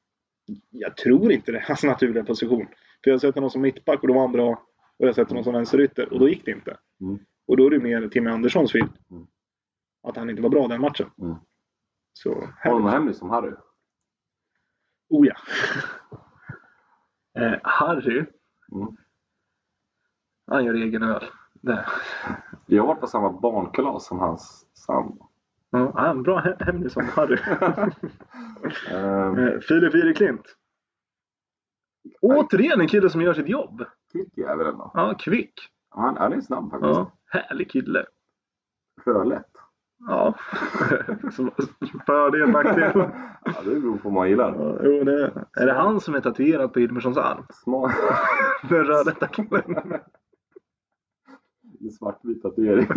jag tror inte det, hans naturliga position. För jag har sett honom som mittback och då var han bra. Och jag har sett honom som vänsterytter och då gick det inte. Mm. Och då är det mer Timmy Anderssons fel. Mm. Att han inte var bra den matchen. Mm. Så, Honom och Henry som Harry. oh ja. eh, Harry. Mm. Han gör egen öl. Där. Jag har varit på samma barnkalas som hans sambo. Ja, han bra hä- hemlis som Harry. Ehm, Eh, Filip Wireklint. Återigen en kille som gör sitt jobb. Tycker jag väl ändå. Ja, kvick. Han, han är snabb faktiskt. Ja, härlig kille. Rödlätt. Ja. Som- Fördel, nackdel. ja, det beror på vad man gillar. Ja, jo, det- Är det han som är tatuerad på Hilmerssons arm? Smal. Den röda killen. Svartvit tatuering.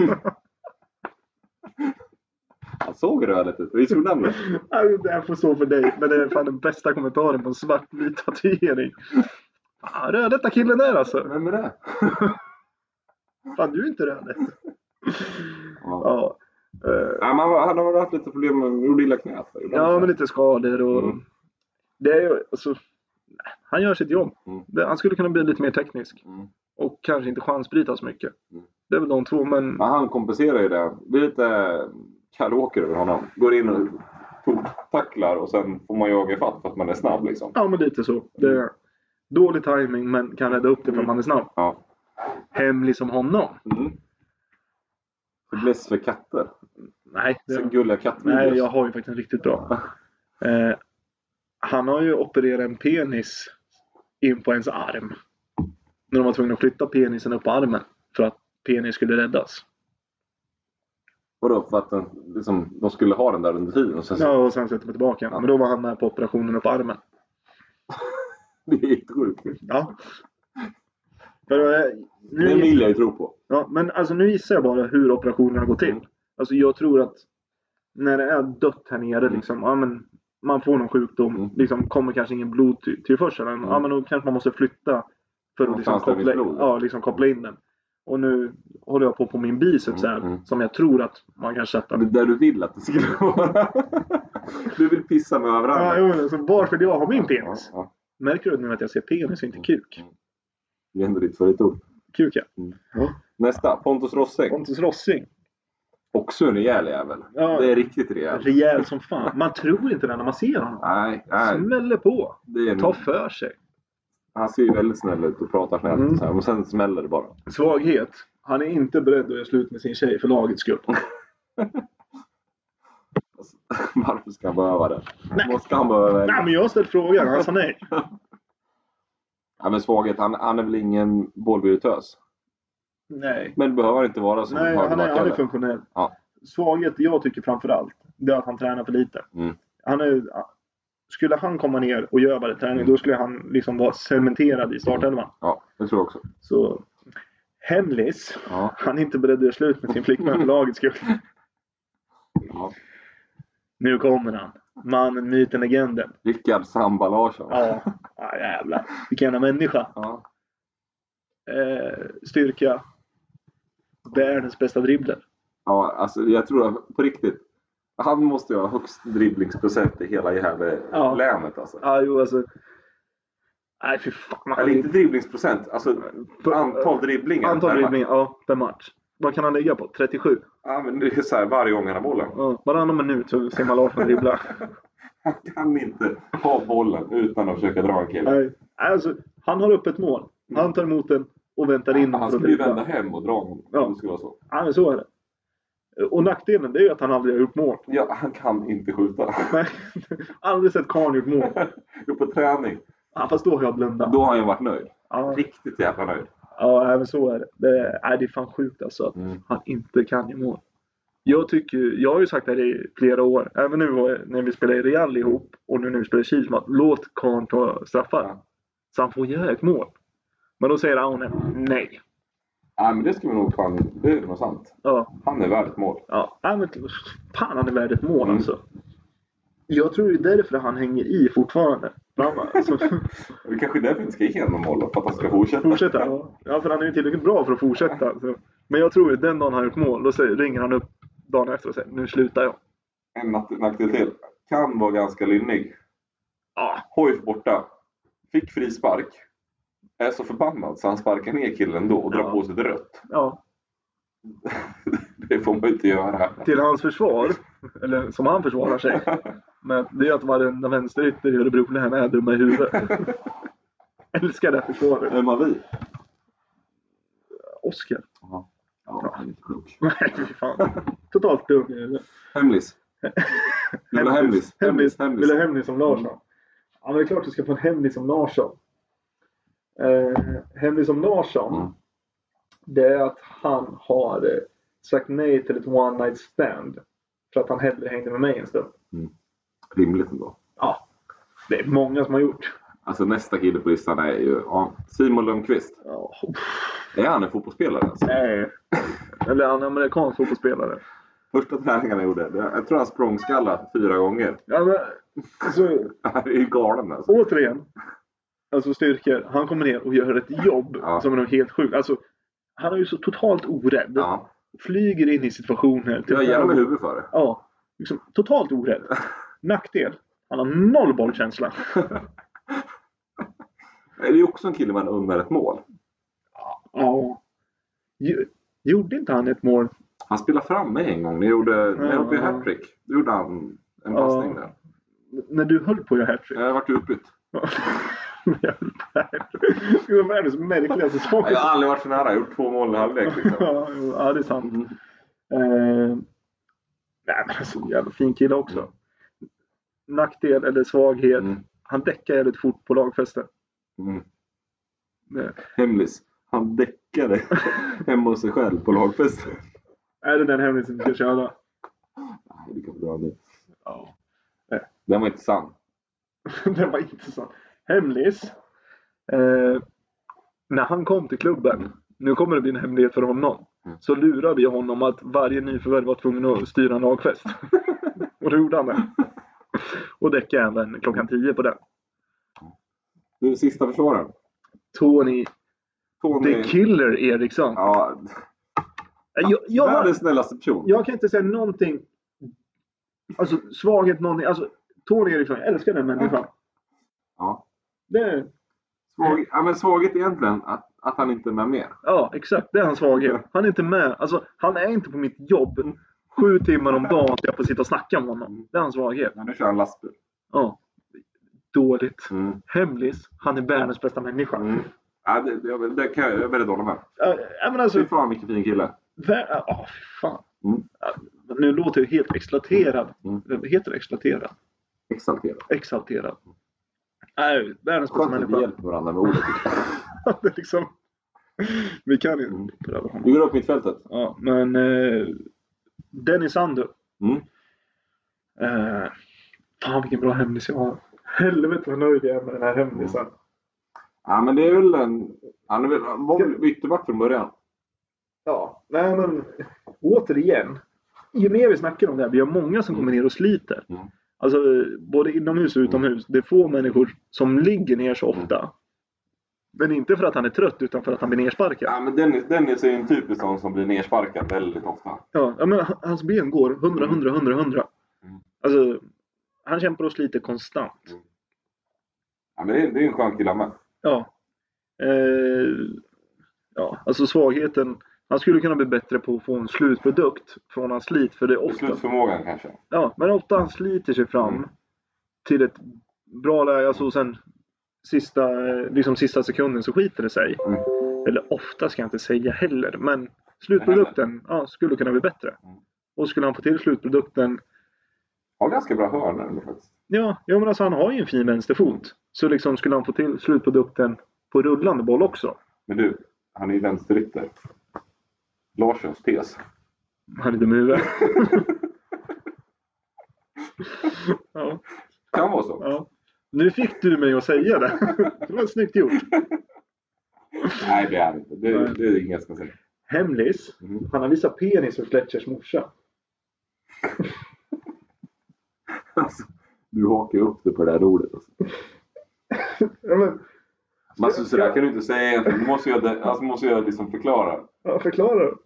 Han såg rödlätt ut. Vi trodde han det. Ja, Det här får stå för dig. Men det är fan den bästa kommentaren på en svartvit tatuering. Ah, rödlätta killen där alltså. Vem är det? Fan, du är inte rödlätt. Ja. Ja. Eh, Nej, men han, var- han har väl haft lite problem med gjorde illa knät. Ja, men lite skador och... Mm. Det är ju, alltså, nej, han gör sitt jobb. Mm. Det- Han skulle kunna bli lite mer teknisk. Mm. Och kanske inte chansbryta så mycket. Mm. Det är väl de två, men... Men han kompenserar ju det. Det är lite eh, karaoke över honom. Går in och tacklar och sen får man jaga ifatt för att man är snabb liksom. Ja, men lite så. Det Mm. är dålig timing men kan rädda upp det för man är snabb. Ja. Hemlig som honom. Mm. Fäbless för katter. Nej, det, Så gulliga kattvideos. nej, jag har ju faktiskt en riktigt bra. Eh, han har ju opererat en penis in på ens arm. När de var tvungna att flytta penisen upp på armen. För att penis skulle räddas. Vadå? För att den, liksom, de skulle ha den där under tiden? Och sen, så, Ja, och sen sätter man tillbaka honom. Men då var han med på operationen upp på armen. Det är helt sjukt. Ja. För, eh, Det nu, vill jag ju tro på. ja, men alltså, nu gissar jag bara hur operationerna går till. Mm. Alltså, jag tror att när det är dött här nere, Mm. liksom, ja, men man får någon sjukdom, Mm. liksom, kommer kanske ingen blodtillförsel. Mm. Ja, men då kanske man måste flytta för att liksom, Någonstans där det koppla, finns blod. ja, liksom, koppla in den. Och nu håller jag på på min biceps här, Mm, mm. som jag tror att man kan sätta. Det där du vill att det skulle vara. Du vill pissa med Ja, överallt. jo, men så varför vill jag ha min Ja, penis? ja. Mm. Märker du nu att jag ser penis och inte kuk? Det är ändå ditt favoritord. Kuk ja. Nästa. Pontus Rossäng. Pontus Rossing. Också en rejäl jävel. Ja. Det är riktigt rejäl. Rejäl som fan. Man tror inte det när man ser honom. Nej, nej. Smäller på. Det är en... Ta för sig. Han ser ju väldigt snäll ut och pratar snällt. Mm. och Så här, men sen smäller det bara. Svaghet. Han är inte beredd att göra slut med sin tjej för lagets skull. Mm. Alltså, Varför ska han behöva det? Nej. Måste han behöva det? Nej, men jag har ställt frågan. Han sa nej. Ja, men svaghet, han, han är väl ingen bollvirtuös. Nej. Men det behöver inte vara som Nej, han är, Högmark han är heller. funktionell. Ja. Svaghet, jag tycker framförallt, det är att han tränar för lite. Mm. Han är, skulle han komma ner och göra varje träning, då skulle han liksom vara cementerad i startelvan. Ja, det tror jag också. Så... Hemlis. Ja, Han är inte beredd att göra slut med sin flickvän för lagets skull. ja. Nu kommer han. Mannen, myten, legenden. Rickard Samba Larsson. Ja, ah, jävlar. Vilken jävla människa. Ja. Eh, styrka. Världens bästa dribbler. Ja, alltså jag tror att på riktigt. Han måste ju ha högst dribblingsprocent i hela jävla Ja. länet alltså. Ja, ah, jo alltså. Nej, fy fan. Eller inte dribblingsprocent, alltså antal dribblingar. Antal per match. dribblingar, ja, per match. Vad kan han ligga på? 37? Ja, men det är så här varje gång han har bollen. Ja, varannan minut så ser man Larsson dribbla. Han kan inte ha bollen utan att försöka dra en kille. Nej, alltså, han har upp ett mål. Han tar emot den och väntar in Han för att skulle ju dribbla. vända hem och dra honom. Ja. om Det skulle vara så. Ja, men så är det. Och nackdelen det är ju att han aldrig har gjort mål. Ja, han kan inte skjuta. Nej, aldrig sett karln gjort mål. Jo, på träning. Ja, fast då har jag blundat. Då har han ju varit nöjd. Ja, Riktigt jävla nöjd. ja, Ja, även så är det. Det är, nej, det är fan sjukt alltså att Mm. han inte kan i mål. Jag, tycker, ju- jag har ju sagt det här i flera år, även nu var- när vi spelade i Real ihop och nu när vi spelar i Kil, som att låt karln ta straffar. Ja. Så han får göra ett mål. Men då säger Aune nej. Nej, men det ska vi nog fan... Det är nog sant. Ja, Han är värd ett mål. ja. Nej, men, fan han är värd ett mål alltså. Jag tror det är därför han hänger i fortfarande. Men han bara, Alltså, Det kanske är därför vi inte ska ge honom mål, då, för att han ska fortsätta. fortsätta. ja. Ja, för han är ju tillräckligt bra för att fortsätta. Så. Men jag tror ju den dagen han gjort mål, då säger, ringer han upp dagen efter och säger nu slutar jag. En natt- nackdel till. Kan vara ganska lynnig. Ja, Hoif borta. Fick frispark. Är så förbannad så han sparkar ner killen då och drar Ja. på sig ett rött. ja. Det får man ju inte göra. Till hans försvar, eller som han försvarar sig, men det är att varenda vänsterytter i Örebro län är dumma i huvudet. Älskar det här försvaret. Vem har vi? Oskar. Ja, han är inte klok. Nej, fy fan. Totalt dum i huvudet. Hemlis. Du vill ha hemlis? Hemlis. hemlis. Vill ha hemlis som Larsson? Ja, men det är klart du ska få en hemlis som Larsson. Eh, hemlis som Larsson, Mm. det är att han har eh, sagt nej till ett one night stand. För att han hellre hängde med mig en stund. Rimligt ändå. Ja, det är många som har gjort. Alltså nästa kille på listan är ju ja, Simon Lundqvist. Ja, Är han en fotbollsspelare? Alltså? nej. Eller han är amerikansk fotbollsspelare. Första träningen han gjorde, det- jag tror han språngskallat fyra gånger. Ja, men, alltså, Han är ju galen Oh, alltså. återigen. Alltså styrkor. Han kommer ner och gör ett jobb Ja. som är nog helt sjukt. Alltså, han är ju så totalt orädd. Ja, Flyger in i situationer. Typ, jag har jävla huvud för det. Ja. Liksom, totalt orädd. Nackdel. Han har noll bollkänsla. Det är ju också en kille man undrar ett mål. Ja. Ju- Gjorde inte han ett mål? Han spelade fram mig en gång. Ni gjorde ni Ja. gjorde ju hattrick. Då gjorde han en Ja. passning där. N- När du höll på att göra hattrick? Jag vart ju utbytt. Jag höll på hattrick. Det var världens märkligaste sak. Jag har aldrig varit så nära. Jag har gjort två mål i halvlek. Liksom. Ja, jo, ja, det är sant. Mhm. Eh, nej, men alltså, jävla fin kille också. Nackdel eller svaghet. Mm. Han däckar jävligt fort på lagfesten. Mm. Nej, Hemlis. Han däckade hemma hos sig själv på lagfesten. Är det den hemlisen du ska köra? Nej, det kan bra nu. Ja. Den var inte sann. det var intressant. Hemlis. Eh, när han kom till klubben, nu kommer det bli en hemlighet för honom, Mm. så lurade vi honom att varje nyförvärv var tvungen att styra en lagfest. och då gjorde han det. Och däckade även klockan 10 på den. Du, sista försvararen. Tony Tony. The Killer Eriksson. Ja, Jag, jag, har, världens snällaste person. jag kan inte säga någonting. Alltså svaghet, någonting. Alltså Tony Eriksson, jag älskar den människan. Ja. Det, Svag, ja, men svaghet egentligen att, att han inte är med mer. ja, exakt. Det är hans svaghet. Han är inte med. Alltså, han är inte på mitt jobb. Sju timmar om dagen ska jag får sitta och snacka med honom. Det är hans svaghet. Ja, nu kör han lastbil. Ja. Dåligt. Mm. Hemlis. Han är världens bästa människa. Mm. Ja, det, det, det kan jag, jag är väldigt dålig med. Ja, ja, men alltså, Fy fan vilken fin kille. vär, ja, ah, fy fan. Mm. Ja, Nu låter jag helt exalterad. Mm. Heter det exalterad? Exalterad. exalterad. Nej, världens bästa Skönt att vi människa. hjälper varandra med ordet. Det är liksom, vi kan ju Mm. pröva honom. Vi går upp mittfältet. Ja, men eh, Dennis Andu. Mm. Eh, fan vilken bra hemlis jag har. Helvete vad nöjd jag är med den här hemlisen. Mm. Ja, men det är väl en... Han är väl, han var väl ytterback från början. Ja, nej men återigen. Ju mer vi snackar om det här, vi har många som kommer ner och sliter. Mm. Alltså eh, både inomhus och utomhus. Det är få människor som ligger ner så Mm. ofta. Men inte för att han är trött utan för att han blir nersparkad. Ja, men Dennis, Dennis är ju en typisk sån som blir nersparkad väldigt ofta. Ja, ja men h- hans ben går 100, 100, 100, 100. Mm. Alltså, han kämpar och sliter konstant. Ja, men det, är- det är en skön kille han med. Ja. Eh, ja, alltså svagheten. Han skulle kunna bli bättre på att få en slutprodukt från hans slit. För det är ofta, Beslutsförmågan kanske. ja, men ofta han sliter sig fram Mm. till ett bra läge. Alltså och sen sista, eh, liksom sista sekunden så skiter det sig. Mm. Eller ofta ska jag inte säga heller. Men slutprodukten ja, skulle kunna bli bättre. Mm. Och skulle han få till slutprodukten Har ganska bra hörnor ändå faktiskt. Ja, ja men alltså han har ju en fin vänsterfot. Så liksom skulle han få till slutprodukten på rullande boll också. Men du, Han är ju vänsterytter. Larssons tes. Han är dum i huvudet. ja, Kan vara så. ja. Nu fick du mig att säga det. Det var snyggt gjort. Nej, det är han inte. Det, Nej. det är inget som säger. Hemlis. Mm. Han har visat penis för Fletchers morsa. Alltså, du hakar ju upp dig på det där ordet. Alltså. Ja, men, Men alltså, så där kan du inte säga egentligen. Du måste ju det- alltså, måste jag liksom förklara. ja, förklara.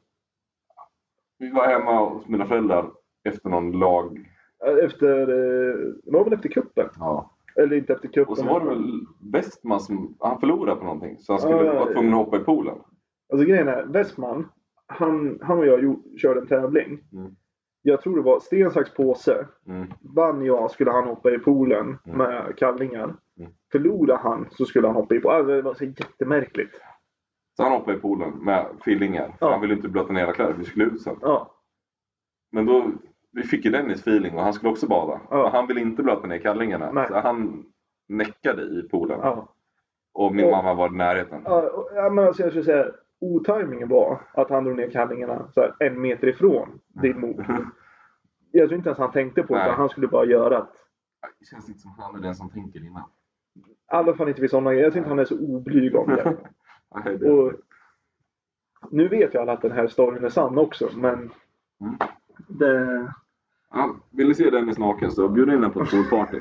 Vi var hemma hos mina föräldrar efter någon lag. Efter, eh, det var väl efter kuppen? Ja. Eller inte efter kuppen. Och så var det väl Westman som han förlorade på någonting. Så han skulle Ja, ja, vara tvungen att hoppa i poolen. Alltså grejen är, Westman, han, han och jag gjorde, körde en tävling. Mm. Jag tror det var sten, sax, påse. Mm. Vann jag skulle han hoppa i poolen Mm. med kallingar. Mm. Förlorade han så skulle han hoppa i poolen. Alltså, det var så jättemärkligt. Så han hoppade i poolen med fillingar. För Ja. Han ville inte blöta ner hela kläder. Vi skulle ut sen. Ja, Men då, vi fick ju Dennis feeling och han skulle också bada. Ja. Och han ville inte blöta ner kallingarna. Nej. Så han näckade i poolen. ja. Och min Och- mamma var i närheten. ja och- ja, men alltså jag skulle säga, otajmingen var att han drog ner kallingarna så här, en meter ifrån din mot. Jag tror inte ens han tänkte på det, Mm. Nej. utan han skulle bara göra att Det känns inte som han är den som tänker innan. I alla fall inte vid sådana grejer. Jag tror inte han är så oblyg om det. Nej, det- Och nu vet ju alla att den här storyn är sann också, men... Mm. Det, Ja, vill ni se Dennis naken så bjud in honom på ett poolparty.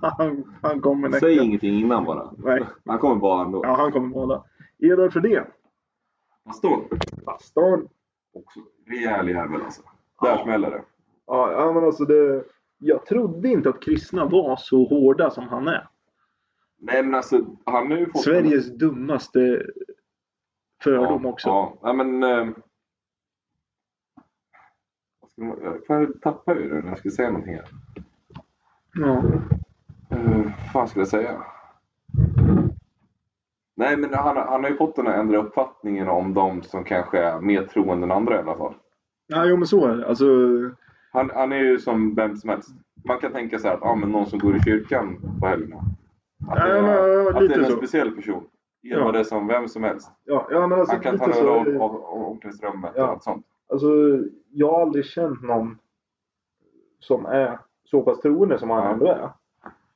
han, han kommer nästa. Säg ingenting innan bara. Nej, Han kommer bara ändå. ja, han kommer måla. Edvard Fredén. Pastorn. Bastarn. Också rejäl jävel alltså. Där Ja. smäller det. Ja, ja, men alltså det... Jag trodde inte att kristna var så hårda som han är. Nej men alltså, han nu fått... Sveriges dummaste fördom också. Ja, nej men... Eh, vad ska man, eh, fan, jag tappade ju det när jag skulle säga någonting här. Ja. Eh, vad fan skulle jag säga? Nej men han, han har ju fått den här ändrade uppfattningen om de som kanske är mer troende än andra i alla fall. ja, jo men så är det. Alltså... Han, han är ju som vem som helst. Man kan tänka så här att ah, men någon som går i kyrkan på helgerna. Att det Ja, men, är, ja, att det lite är en så. speciell person. Ja. Edvard är som vem som helst. Ja, ja men alltså Han kan ta lite så. över är det. om- om- om- omklädningsrummet Ja. och allt sånt. Alltså, jag har aldrig känt någon som är så pass troende som han Ja. ändå är.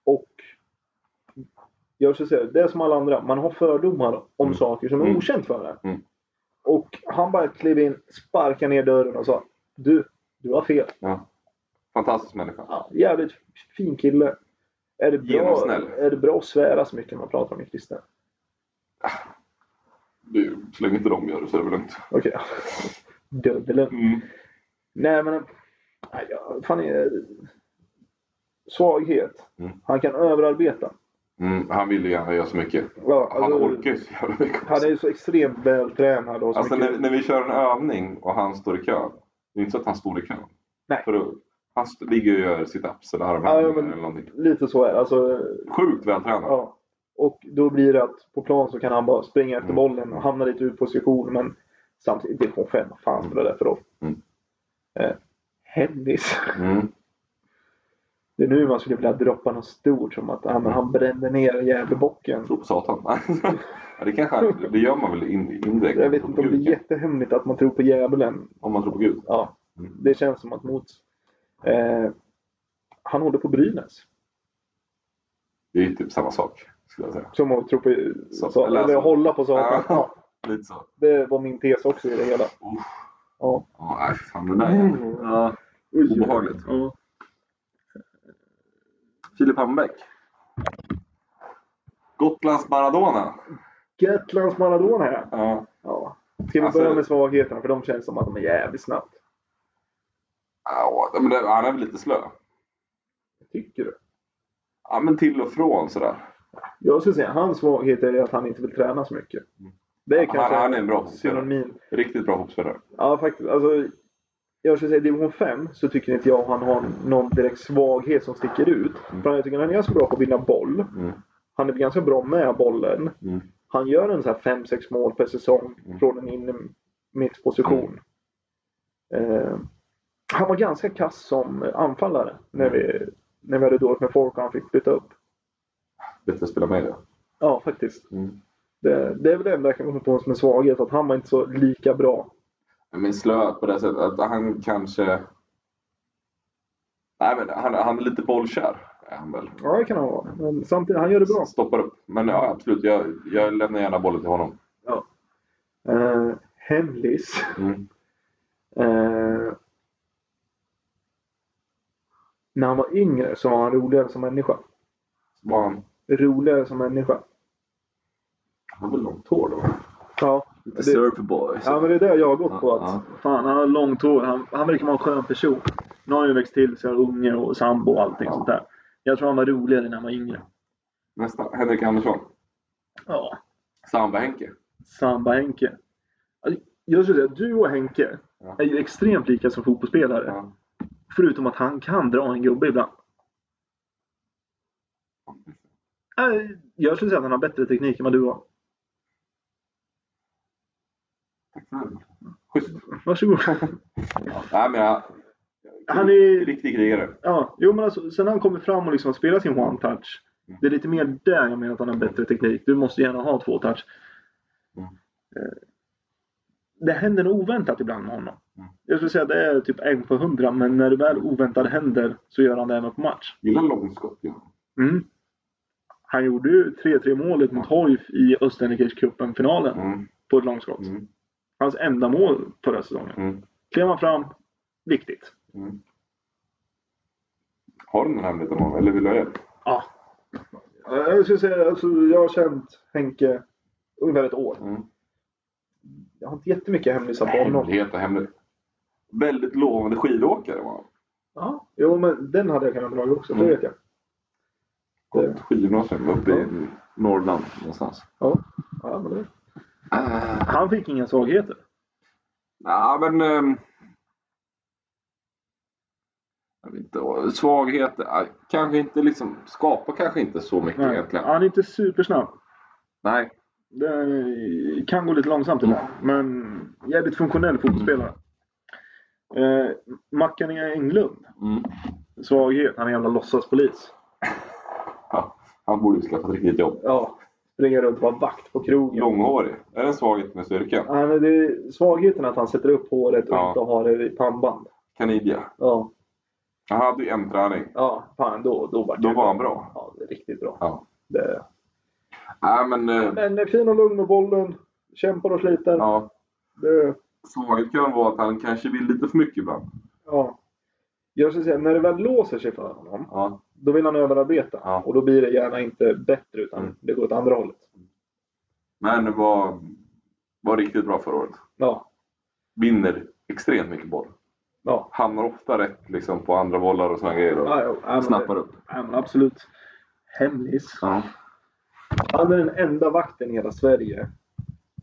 Och jag skulle säga, det är som alla andra. Man har fördomar om Mm. saker som är Mm. okänt för en. Mm. Och han bara klev in, sparkade ner dörren och sa Du, du har fel. Fantastisk människa. Ja, jävligt fin kille. Är det, bra, Genomsnäll. är det bra att svära så mycket när man pratar om en kristen? Du, så länge inte de gör det så är det väl lugnt. Okej. Dubbelen. Mm. Nej men... nej, jag- Fan är... Svaghet. Mm. Han kan överarbeta. Mm, han vill ju gärna göra så mycket. Ja, Han alltså, orkar ju så jävla mycket. han är ju så extremt vältränad och så Alltså mycket... när, när vi kör en övning och han står i kö. Det är inte så att han står i kö. Nej. För då, han st- ligger och gör situps eller Ja, armhävningar men- eller någonting. Lite så är det. Alltså, Sjukt vältränad. ja. Och då blir det att på plan så kan han bara springa efter Mm. bollen och hamna lite ur position. Men samtidigt, division 5, vad fan spelar det för roll? Mm. Eh, Hennis. Mm. Det är nu man skulle vilja droppa något stort som att ja, men han brände ner Gävlebocken. tror på Satan. ja, det kanske han- det gör man väl in, indirekt. Jag vet inte om det är jättehemligt att man tror på djävulen. om man tror på Gud. Ja, Mm. Det känns som att mot... Eh, han håller på Brynäs. Det är ju typ samma sak skulle jag säga. Som att tro på... Så- så, eller eller så. hålla på saker. Ja. Ja, Lite så. det var min tes också i det hela. Uff. Ja. Ja, nej, fan den där Mm. jäveln. ja. Obehagligt. Ja. Filip Hammarbäck. Gotlands Maradona. Gotlands Maradona här. Ja. Ja. Ska vi Alltså- börja med svagheterna? För de känns som att de är jävligt snabbt. Ja, men det, han är väl lite slö. Tycker du? Ja, men till och från sådär. Jag skulle säga hans svaghet är att han inte vill träna så mycket. Det är Mm. Han, kanske han är en bra fotbollsspelare. synonym. Riktigt bra fotbollsspelare. Ja, faktiskt. Alltså, jag skulle säga i division 5 så tycker inte jag han har någon direkt svaghet som sticker ut. Mm. För jag tycker han är ganska bra på att vinna boll. Mm. Han är ganska bra med bollen. Mm. Han gör en så här 5-6 mål per säsong Mm. från en in mitt position. Mm. Eh, han var ganska kass som anfallare när Mm. vi, när vi hade dåligt med folk och han fick flytta upp. Bättre att spela med det. Ja, faktiskt. Mm. Det, det är väl det enda jag kan komma på som en svaghet, att han var inte så lika bra. Men slö på det sättet att han kanske... Nej, men han, han är lite bollkär. Är han väl. Ja, det kan han vara. Men samtidigt, han gör det bra. Stoppar upp. Men ja, absolut. Jag, jag lämnar gärna bollen till honom. Eh, hemlis. Mm. Eh, när han var yngre så var han roligare som människa. Så var han, Roligare som människa. han har väl långt hår då? Ja, Lite Det- surferboy. ja men det är det jag har gått på. Att, Ja, Fan, han har långt hår. Han, han verkar vara en skön person. Nu har han ju växt till sig, har unge och sambo och allting sånt där. Jag tror han var roligare när han var yngre. Nästa. Henrik Andersson. Ja, Samba-Henke. Samba-Henke. Alltså, Jag skulle säga att du och Henke Ja. är ju extremt lika som fotbollsspelare. Ja. Förutom att han kan dra en gubbe ibland. Nej, Äh, Jag skulle säga att han har bättre teknik än vad du har. Schysst. Varsågod. Ja. Nej, men han, Han är- Riktig krigare. Ja, jo, men alltså, sen när han kommer fram och liksom spelar sin one-touch. Mm. Det är lite mer där jag menar att han har bättre teknik. Du måste gärna ha två-touch. Mm. Eh, Det händer något oväntat ibland med honom. Mm. Jag skulle säga att det är typ en på hundra, men när det väl oväntat händer så gör han det även på match. Gillar långskott. Ja. Mm. Han gjorde ju 3-3 målet mot Hoif i Österrike-cupen-finalen Mm. på ett långskott. Mm. Hans enda mål förra säsongen. Mm. Klev han fram, viktigt. Mm. Har du någon hemlighet om honom? Eller vill du ha hjälp? Ja. Jag skulle säga, alltså, jag har känt Henke ungefär ett år. Mm. Jag har inte jättemycket hemlisar på honom. Hemlighet och hemlighet. Väldigt lovande skidåkare var han. Ja. Jo, men den hade jag kunnat dra också, Mm. det vet jag. Gått skidgymnasium uppe i Norrland någonstans. Ja, men det... Äh, Han fick inga svagheter. ja, men... ehm, jag vet inte. Svagheter. ja, Kanske inte liksom... Skapar kanske inte så mycket Nej. egentligen. Han är inte supersnabb. Nej. Det är- kan gå lite långsamt ibland, men jävligt funktionell fotbollsspelare. Eh, Mackan Englund, Mm. svaghet. Han är en jävla låtsaspolis. Ja, han borde ju skaffa ett riktigt jobb. Ja, springa runt och vara vakt på krogen. Långhårig. Är det en svaghet med styrkan? Ja, men det är svagheten att han sätter upp håret och Ja. inte har det i pannband. Kanidia. Ja, Han hade ju en träning. ja fan då, då var det, Då var han bra. Ja, det är riktigt bra. Ja. Det... Nej, men... eh, Men är fin och lugn med bollen. Kämpar och sliter. Ja. Ja, Det, svaghet kan vara att han kanske vill lite för mycket ibland. ja. Jag skulle säga, när det väl låser sig för honom, Ja. då vill han överarbeta. Ja. Och då blir det gärna inte bättre, utan Mm. det går åt andra hållet. Men var, var riktigt bra förra året. Ja, Vinner extremt mycket boll. ja. Hamnar ofta rätt liksom, på andra bollar och sådana grejer. Och ja, jo, ja men, snappar upp. Ja, men absolut. Hemlis. Ja. Han är den enda vakten i hela Sverige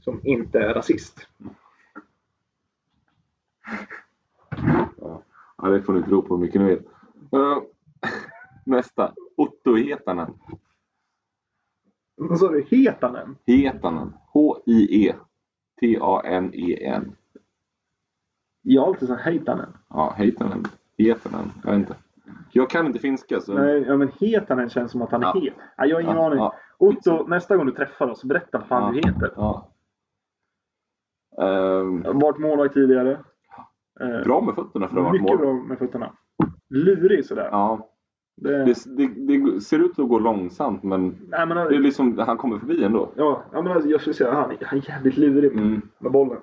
som inte är rasist. ja, det får ni tro på hur mycket ni vill. Eh, Nästa. Otto Hietanen. Vad sa du? Het han än? Hietanen. E H-I-E-T-A-N-E-N. Jag har alltid sagt Heitanen. Ja, Hietanen. Hietanen. Jag vet inte. Jag kan inte finska så... Nej, ja, men Heitanen känns som att han är Mm. Ja. het. Nej, jag har ingen ja, aning. ja, Otto, nästa gång du träffar oss, berätta vad fan Ja. du heter. ja. Ehm, Vart målvakt tidigare. Eh, bra med fötterna för att ha varit mycket mål. bra med fötterna. Lurig sådär. Ja, Det, Det, det, det ser ut att gå långsamt men nej, men, det är liksom, han kommer förbi ändå. ja, ja, men alltså, jag skulle säga han, han är jävligt lurig med, Mm. med bollen.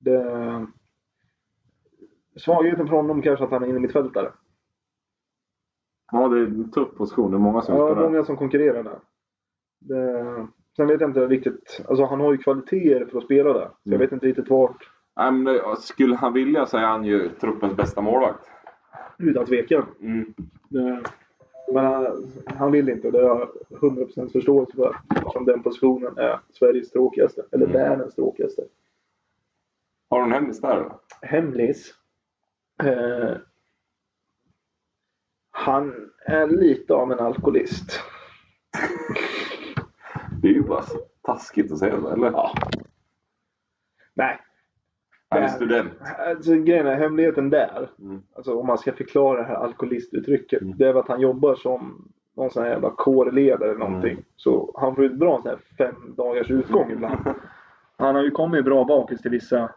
Det, svagheten från honom kanske att han är innermittfältare. Ja, det är en tuff position. Det är många som Ja, spelar. många som konkurrerar där. Det, sen vet jag inte riktigt. Alltså han har ju kvaliteter för att spela där. Så jag Mm. vet inte riktigt vart. Nej, men det, skulle han vilja så är han ju truppens bästa målvakt. Utan tvekan. Mm. Det- Men han, han vill inte och det har jag 100% förståelse för. Eftersom den positionen är Sveriges tråkigaste. Eller Mm. världens tråkigaste. Har du en hemlis där då? Hemlis. Eh, han är lite av en alkoholist. Det är ju bara så taskigt att säga så, eller? Ja. Nej, Han är där. student. alltså, grejen är hemligheten där. Mm. Alltså, om man ska förklara det här alkoholistuttrycket. Mm. Det är väl att han jobbar som någon sån här jävla kårledare eller någonting. Så han får ju dra en sån här fem dagars utgång ibland. Mm. Han har ju kommit bra bakis till vissa.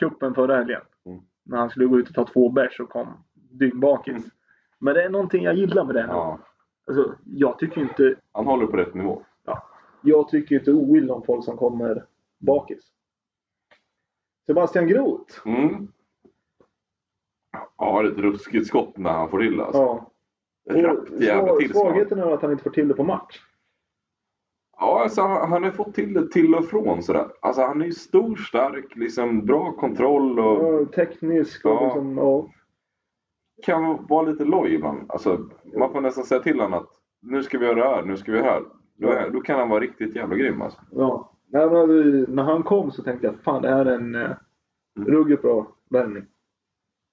Kuppen förra helgen. Mm. När han skulle gå ut och ta två bärs och kom dyngbakis. Mm. Men det är någonting jag gillar med det här. Ja. Alltså, jag tycker inte Han håller på rätt nivå. jag tycker inte oilla om folk som kommer bakis. Sebastian Groth. Mm. Ja, det är ett ruskigt skott när han får till alltså. Ja. Ett rappt jävla Och tillslag. svagheten är att han inte får till det på match. Ja, alltså, han han har fått till det till och från sådär. Alltså han är ju stor, stark, liksom bra kontroll och Ja, Teknisk och Ja. liksom, ja. kan vara lite loj ibland. Alltså, man får nästan säga till honom att nu ska vi göra det här, nu ska vi göra det här. Då, är, då kan han vara riktigt jävla grym alltså. ja. Nej, men, alltså, när han kom så tänkte jag fan det här är en eh, Mm. ruggigt bra värvning.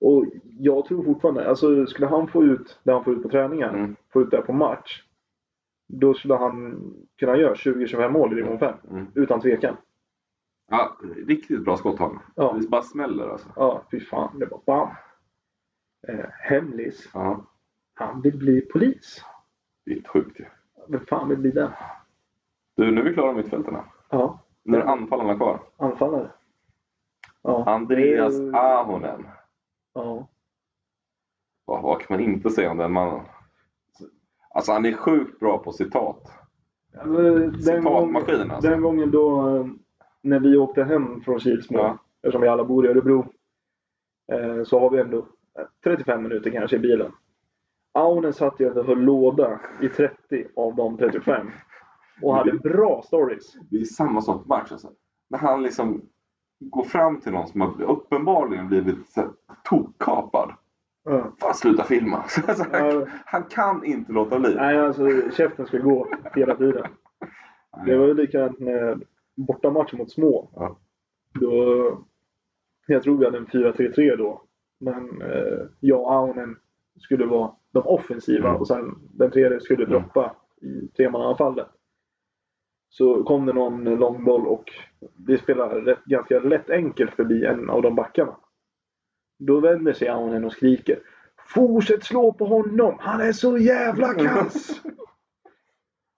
Och jag tror fortfarande, alltså skulle han få ut det han får ut på träningen, Mm. få ut det här på match. Då skulle han kunna göra 20-25 mål i division 5. Mm. Utan tvekan. Ja, riktigt bra skott han. Ja. Det bara smäller alltså. Ja, fy fan. Det var bam. Eh, hemlis. Ja, Han vill bli polis. det är helt sjukt ju. Vem fan vill bli det? Du, nu är vi klara med mittfältarna. Ja, Nu är det anfallarna kvar. anfallare. Ja. Andreas det- Ahonen. Ja. Vad, vad kan man inte säga om den mannen? Alltså han är sjukt bra på citat. Den, Citatmaskin, gången, alltså. den gången då eh, när vi åkte hem från Kilsmo, Ja. eftersom vi alla bor i Örebro, eh, så har vi ändå eh, 35 minuter kanske i bilen. Aunen satt ju och höll låda i 30 av de 35. Och hade Mm. bra stories. Det är samma sak på match. Alltså. När han liksom går fram till någon som har uppenbarligen blivit så här tokkapad. Ja. Fan sluta filma! Alltså, han, Ja. han kan inte låta bli. Nej, alltså käften skulle gå hela tiden. Det var ju likadant med bortamatch mot små. Ja. Då, jag tror vi hade en 4-3-3 då. Men eh, jag och Aunen skulle vara de offensiva Mm. och sen den tredje skulle Mm. droppa i tremannaanfallet. Så kom det någon långboll och vi spelade rätt, ganska lätt enkelt förbi en av de backarna. Då vänder sig Aunen och skriker Fortsätt slå på honom! Han är så jävla kass!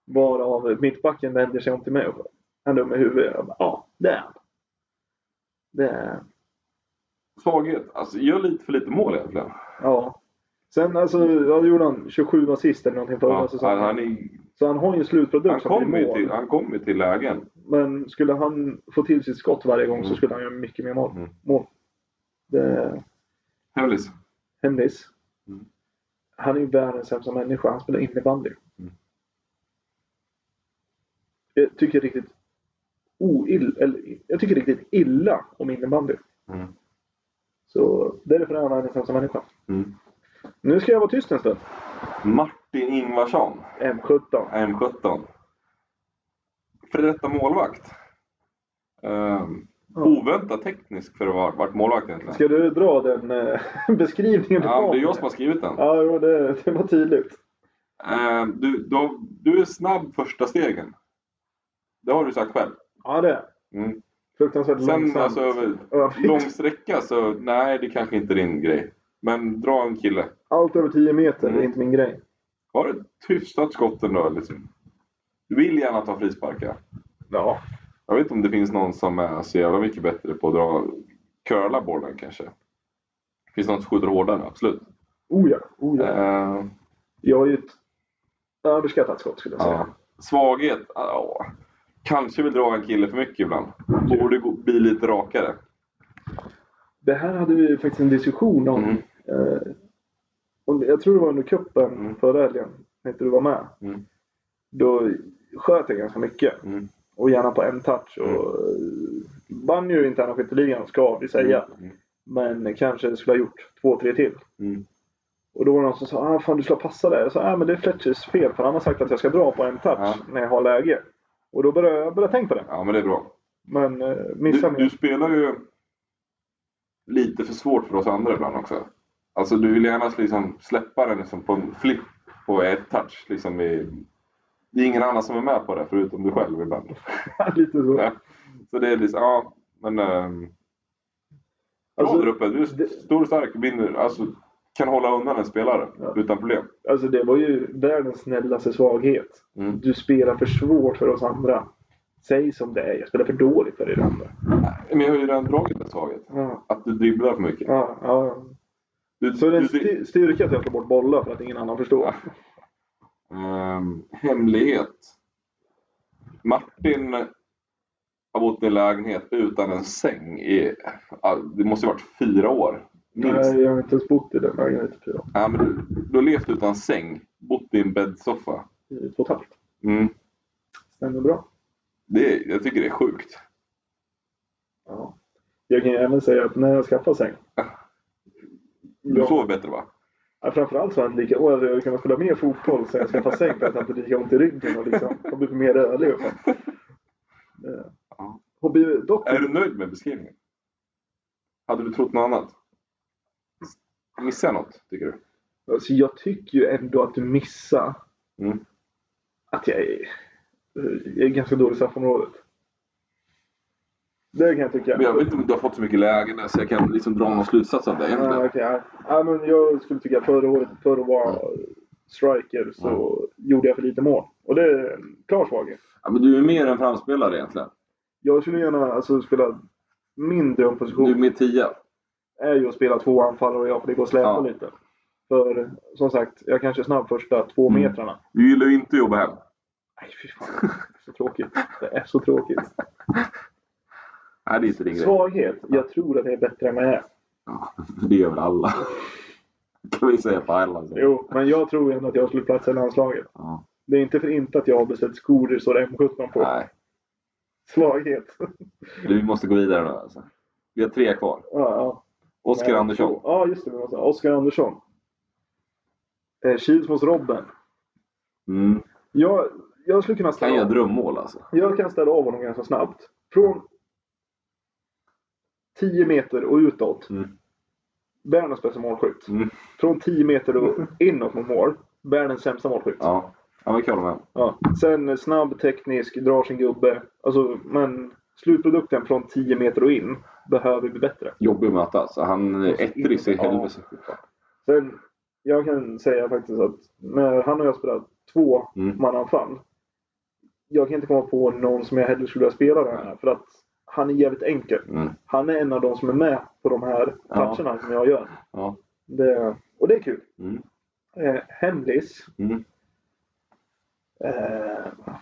Varav mittbacken vänder sig om till mig och bara, han dum i huvudet. Jag bara, ja, det är han. Det är han. Svaghet. Alltså, gör lite för lite mål egentligen. Ja. Sen alltså, ja, då gjorde han 27 assist eller någonting förra Ja, han, säsongen. han, är- Så han har ju en slutprodukt han som blir kommer ju mål. till, han kommer ju till lägen. Men skulle han få till sitt skott varje gång så Mm. skulle han göra mycket mer mål. Mm. mål. Det, Hemlis. Hennis. Mm. Han är ju världens sämsta människa. Han spelar innebandy. Mm. Jag tycker riktigt oill, eller, jag tycker riktigt illa om innebandy. Mm. Så därför är han världens sämsta människa. Mm. Nu ska jag vara tyst en stund. Martin Ingvarsson. M17. M17. Före detta målvakt. Ehm, Ja. Oväntat teknisk för att ha varit målvakt egentligen. Ska du dra den eh, beskrivningen? Ja, men det är jag som har skrivit den. Ja, jo, det, det var tydligt. Eh, du, du, har- du är snabb första stegen. Det har du sagt själv. Ja, det. Mm. Fruktansvärt Sen långsamt. alltså, Övrigt. lång sträcka så nej, det kanske inte är din grej. Men dra en kille. Allt över 10 meter är Mm. inte min grej. Har ett hyfsat skott ändå liksom. Du vill gärna ta frisparkar. Ja. Jag vet inte om det finns någon som är så jävla mycket bättre på att dra, curla bollen kanske. Det finns någon som skjuter hårdare, absolut. Oh ja. Oh ja. Eh, Jag har ju ett överskattat skott skulle jag säga. ja. Svaghet? Ja. Kanske vill dra en kille för mycket ibland. Borde gå, bli lite rakare. Det här hade vi faktiskt en diskussion om. Mm. Eh, och jag tror det var under cupen Mm. förra helgen, när inte du var med. Mm. Då sköt jag ganska mycket. Mm. Och gärna på en touch. Och, eh, vann ju interna skytteligan, ska vi säga. Mm. Men kanske skulle ha gjort två, tre till. Mm. Och då var det någon som sa ah, fan du skulle ha passat där. Jag sa ah, men det är Fletchers fel för han har sagt att jag ska dra på en touch Ja. när jag har läge. Och då började jag började tänka på det. Ja, men det är bra. Men eh, Du, missade du spelar ju lite för svårt för oss andra ibland också. Alltså du vill gärna liksom släppa den liksom på en flip, på ett touch. Liksom i, det är ingen annan som är med på det förutom du själv ibland. lite så. Ja. Så det är liksom, ja men... Ähm, Alltså, bra där uppe, du är det- stor och stark. Vinner, alltså, kan hålla undan en spelare Ja. utan problem. Alltså det var ju världens snällaste svaghet. Mm. Du spelar för svårt för oss andra. Säg som det är, jag spelar för dåligt för er andra. Men jag har ju redan dragit den svaghet. Ja, Att du dribblar för mycket. ja, ja. Du, Så det är en du- du- sty- styrka att jag tar bort bollar för att ingen annan förstår. Ehm, hemlighet. Martin har bott i en lägenhet utan en säng i, ja, det måste ju varit fyra år. Minst. Nej, jag har inte ens bott i den lägenheten i typ fyra år. Ja, men du, du har levt utan säng, bott i en bäddsoffa. I två och ett halvt. Mm. Stämmer bra. Det, är- jag tycker det är sjukt. Ja. Jag kan ju även säga att när jag skaffade säng. Du Ja. sover bättre va? Ja, framförallt så har jag inte lika... Och jag hade kunnat spela mer fotboll sen jag skaffade säng för att jag inte hade lika ont i ryggen och liksom... Jag blev mer rörlig. och sånt. Eh, Ja. Har blivit dock... Är du nöjd med beskrivningen? Hade du trott något annat? Missar jag något, tycker du? Alltså, jag tycker ju ändå att du missar Mm. att jag är, jag är ganska dålig i straffområdet. Det kan jag tycka. Men jag vet inte om du har fått så mycket lägen där så jag kan liksom dra någon slutsats av det Ja, egentligen. Ah, okej, ja. Ja, men jag skulle tycka att förra året, för att vara Mm. striker, så gjorde jag för lite mål. Och det är en klar svaghet. Ja, men du är mer en framspelare egentligen. Jag skulle gärna alltså, spela... Min drömposition Du är mer tia. är ju att spela två anfallare och jag får det gå och släpa Ja. lite. För som sagt, jag kanske är snabb första två Mm. metrarna. Du gillar ju inte att jobba hem. Nej, fy fan. Så tråkigt. Det är så tråkigt. Nej, det är inte din grej. Svaghet. Jag tror att jag är bättre än vad jag är. Ja, Det är väl alla. kan vi säga på alla. Så. Jo, men jag tror ändå att jag skulle platsa i landslaget. Ja. Det är inte för inte att jag har beställt skor det står M17 på. Nej, Svaghet. vi måste gå vidare nu alltså. Vi har tre kvar. Ja, ja. Oskar Nej, Andersson. Ja, just det. vi måste- Oskar Andersson. Eh, Kilsmos Robben. Mm. Jag, jag skulle kunna Kan ställa göra av. drömmål alltså. Jag kan ställa av honom ganska snabbt. Från 10 meter och utåt. Mm. Världens bästa målskytt. Mm. Från 10 meter och inåt mot mål. Världens sämsta målskytt. Ja, ja men kul med. Ja. Sen eh, snabb, teknisk, drar sin gubbe. Alltså, men slutprodukten från 10 meter och in behöver bli bättre. Jobbig att möta alltså. Han är ettrig så i Ja. helvete. Sen, jag kan säga faktiskt att när han och jag spelade två Mm. mananfall. Jag kan inte komma på någon som jag hellre skulle vilja spela den här. För att han är jävligt enkel. Mm. Han är en av de som är med på de här Ja. matcherna som jag gör. Ja. Det, och det är kul. Mm. Eh, hemlis. Mm. Eh,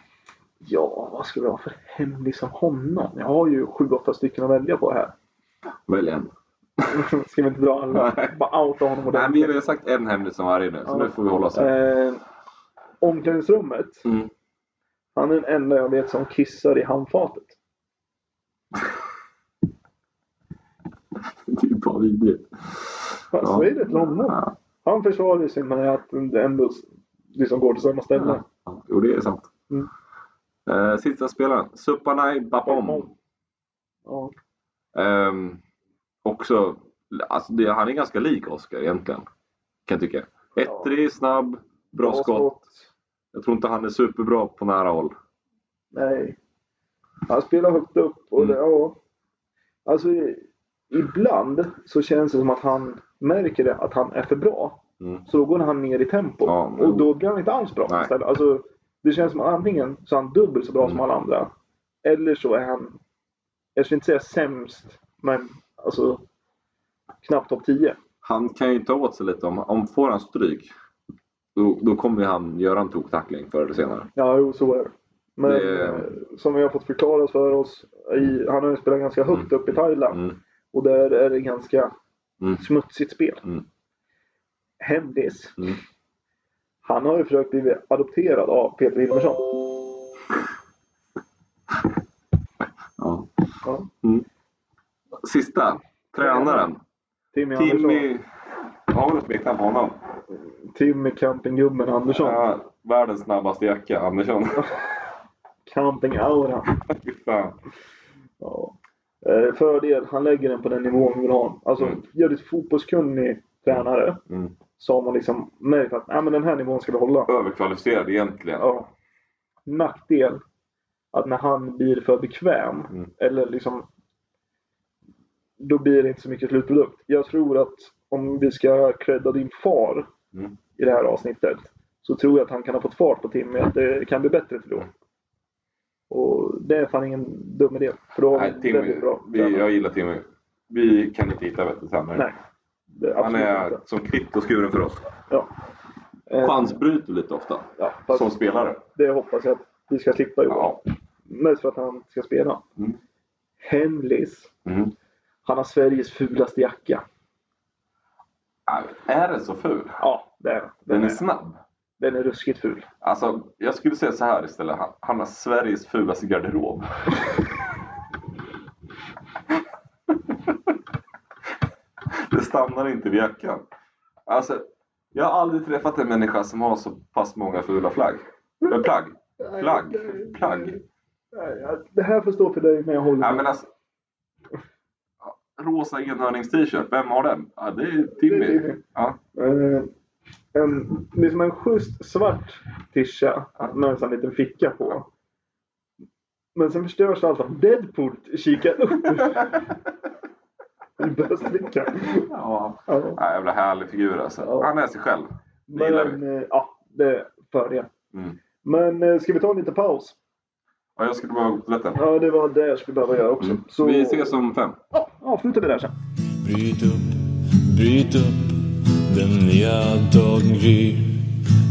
ja, vad skulle jag ha för hemlis om honom? Jag har ju 7-8 stycken att välja på här. Välj en. Ska vi inte dra alla? Nej. Bara outa honom Nej, vi har ordentligt. ju sagt en hemlis som varje nu, så Ja. nu får vi hålla oss här. Eh, omklädningsrummet. Mm. Han är den enda jag vet som kissar i handfatet. Det är ju bara vidrigt. Fan, Ja. Säg det till honom. Ja. Han försvarar ju sig med att det ändå liksom går till samma ställe. Ja. Jo, det är sant. Mm. Eh, sista spelaren. Supanai Bapom. Ja. Ehm, också, alltså det, han är ganska lik Oscar egentligen. Kan jag tycka. Ettrig, snabb, bra skott. Jag tror inte han är superbra på nära håll. Nej. Han spelar högt upp och Mm. det, ja. Alltså i- ibland så känns det som att han märker det, att han är för bra. Mm. Så då går han ner i tempo. Ja, men- och då blir han inte alls bra Nej. istället. Alltså, det känns som att antingen så är han dubbelt så bra Mm. som alla andra. Eller så är han, jag skulle inte säga sämst, men alltså knappt topp 10. Han kan ju ta åt sig lite. Om, om får han stryk, då, då kommer ju han göra en toktackling förr eller senare. Ja, jo, så är det. Men Det- eh, som vi har fått förklarat för oss, i, han har ju spelat ganska högt upp i Thailand. Mm. Och där är det ganska Mm. smutsigt spel. Mm. Hemlis. Mm. Han har ju försökt bli adopterad av Peter Hilmersson. Ja. Ja. Sista, tränaren. Timmy, Andersson. Timmy... Har vi något smeknamn på honom? Timmy Campinggubben Andersson. Ja, världens snabbaste jacka, Andersson. Campingaura. Fy fan. Ja. Eh, Fördel, han lägger den på den nivån vi vill ha honom. Alltså, Mm. gör ett fotbollskunnig tränare. Mm. Så har man liksom märkt att "Nej, men den här nivån ska vi hålla. Överkvalificerad egentligen. Ja. Nackdel. Att när han blir för bekväm. Mm. Eller liksom. Då blir det inte så mycket slutprodukt. Jag tror att om vi ska credda din far Mm. i det här avsnittet så tror jag att han kan ha fått fart på Timmy. Att det kan bli bättre till då. Mm. Och det är fan ingen dum idé. För då har Nej, vi Timmy, väldigt bra vi, tränare. jag gillar Timmy. Vi kan inte hitta bättre tränare. Nej, det, Han absolut är inte. som klippt och skuren för oss. Ja. Eh, Chansbryter lite ofta. ja, fast Som spelare. Det hoppas jag att vi ska slippa i år. Ja. Mest för att han ska spela. Mm. Henlis. Mm. Han har Sveriges fulaste jacka. Nej, Är den så ful? Ja, det är han. Den är snabb. den är ruskigt ful. Alltså, jag skulle säga så här istället. Han, han har Sveriges fulaste garderob. Det stannar inte vid jackan. Alltså, jag har aldrig träffat en människa som har så pass många fula flagg. Äh, plagg. Plagg. Plagg. Nej, ja, Det här får stå för dig, men jag håller Nej, med. men alltså, rosa enhörnings-t-shirt, vem har den? Ja, det är Timmy. Ja. Eh, en, det är som en schysst svart tisha med en sån liten ficka på. Men sen förstörs allt av Deadpool kikar upp i bröstfickan. ja. Ja. Ja, jävla härlig figur alltså. Ja. Han är sig själv. Det gillar Men vi. eh, ja, det är fördel. Mm. Men eh, ska vi ta en liten paus? Ja, jag skulle behöva gå på toaletten. Ja, det var det jag skulle behöva göra också. Mm. Så Vi ses om fem. ja, avslutar vi där sen. Bryt upp, bryt upp Den nya dagen gryr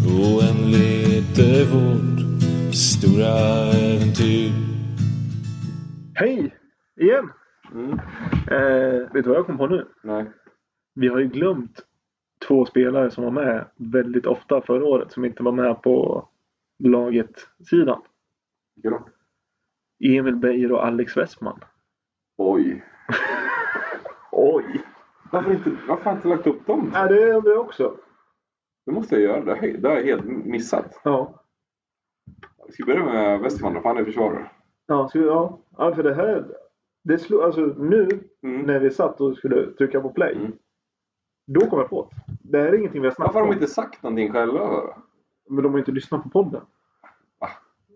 Oändligt är vårt stora äventyr Hej! Igen! Mm. Eh, vet du vad jag kom på nu? Nej. Vi har ju glömt två spelare som var med väldigt ofta förra året som inte var med på laget-sidan. Vilka då? Emil Beijer och Alex Westman. Oj. Oj! Varför inte, varför har jag inte lagt upp dem? Ja, det undrar jag också. Det måste jag göra. Det har jag- det har jag helt missat. Ja. Vi ska börja med Westman då, för han är försvarare. Ja, så, ja. ja för det här... Det slog, alltså nu Mm. när vi satt och skulle trycka på play. Mm. Då kom jag på att det här är ingenting vi har snackat Varför har om. de inte sagt någonting själva? då? Men de har inte lyssnat på podden.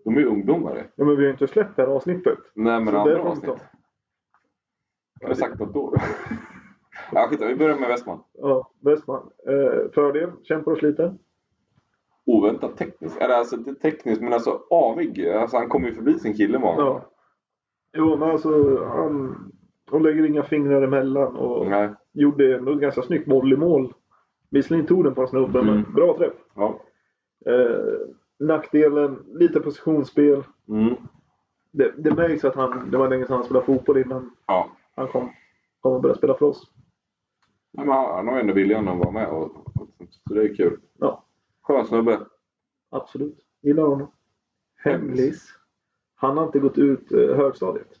De är ju ungdomar. Ja, men vi har inte släppt det här avsnittet. Nej, men Så det andra får vi avsnitt. ta. Jag har sagt något då. ja, skit Vi börjar med Westman. Ja, Westman. Eh, fördel, kämpar och sliter. Oväntat tekniskt. Eller alltså inte tekniskt, men alltså avig. Alltså, han kommer ju förbi sin kille många Ja. Jo, men alltså han... De lägger inga fingrar emellan och Nej. gjorde ändå ett ganska snyggt volleymål. Visserligen tog den på en snubbe, Mm. men bra träff. Ja. Eh, nackdelen, lite positionsspel. Mm. Det, det märks att han, det var länge sedan han spelade fotboll innan ja. han kom, kom och började spela för oss. Nej, men han han har ju ändå viljan att vara med. Och, och, så det är kul. Ja. Skön snubbe. Absolut. Gillar honom. Hemlis. Hemlis. Han har inte gått ut eh, högstadiet.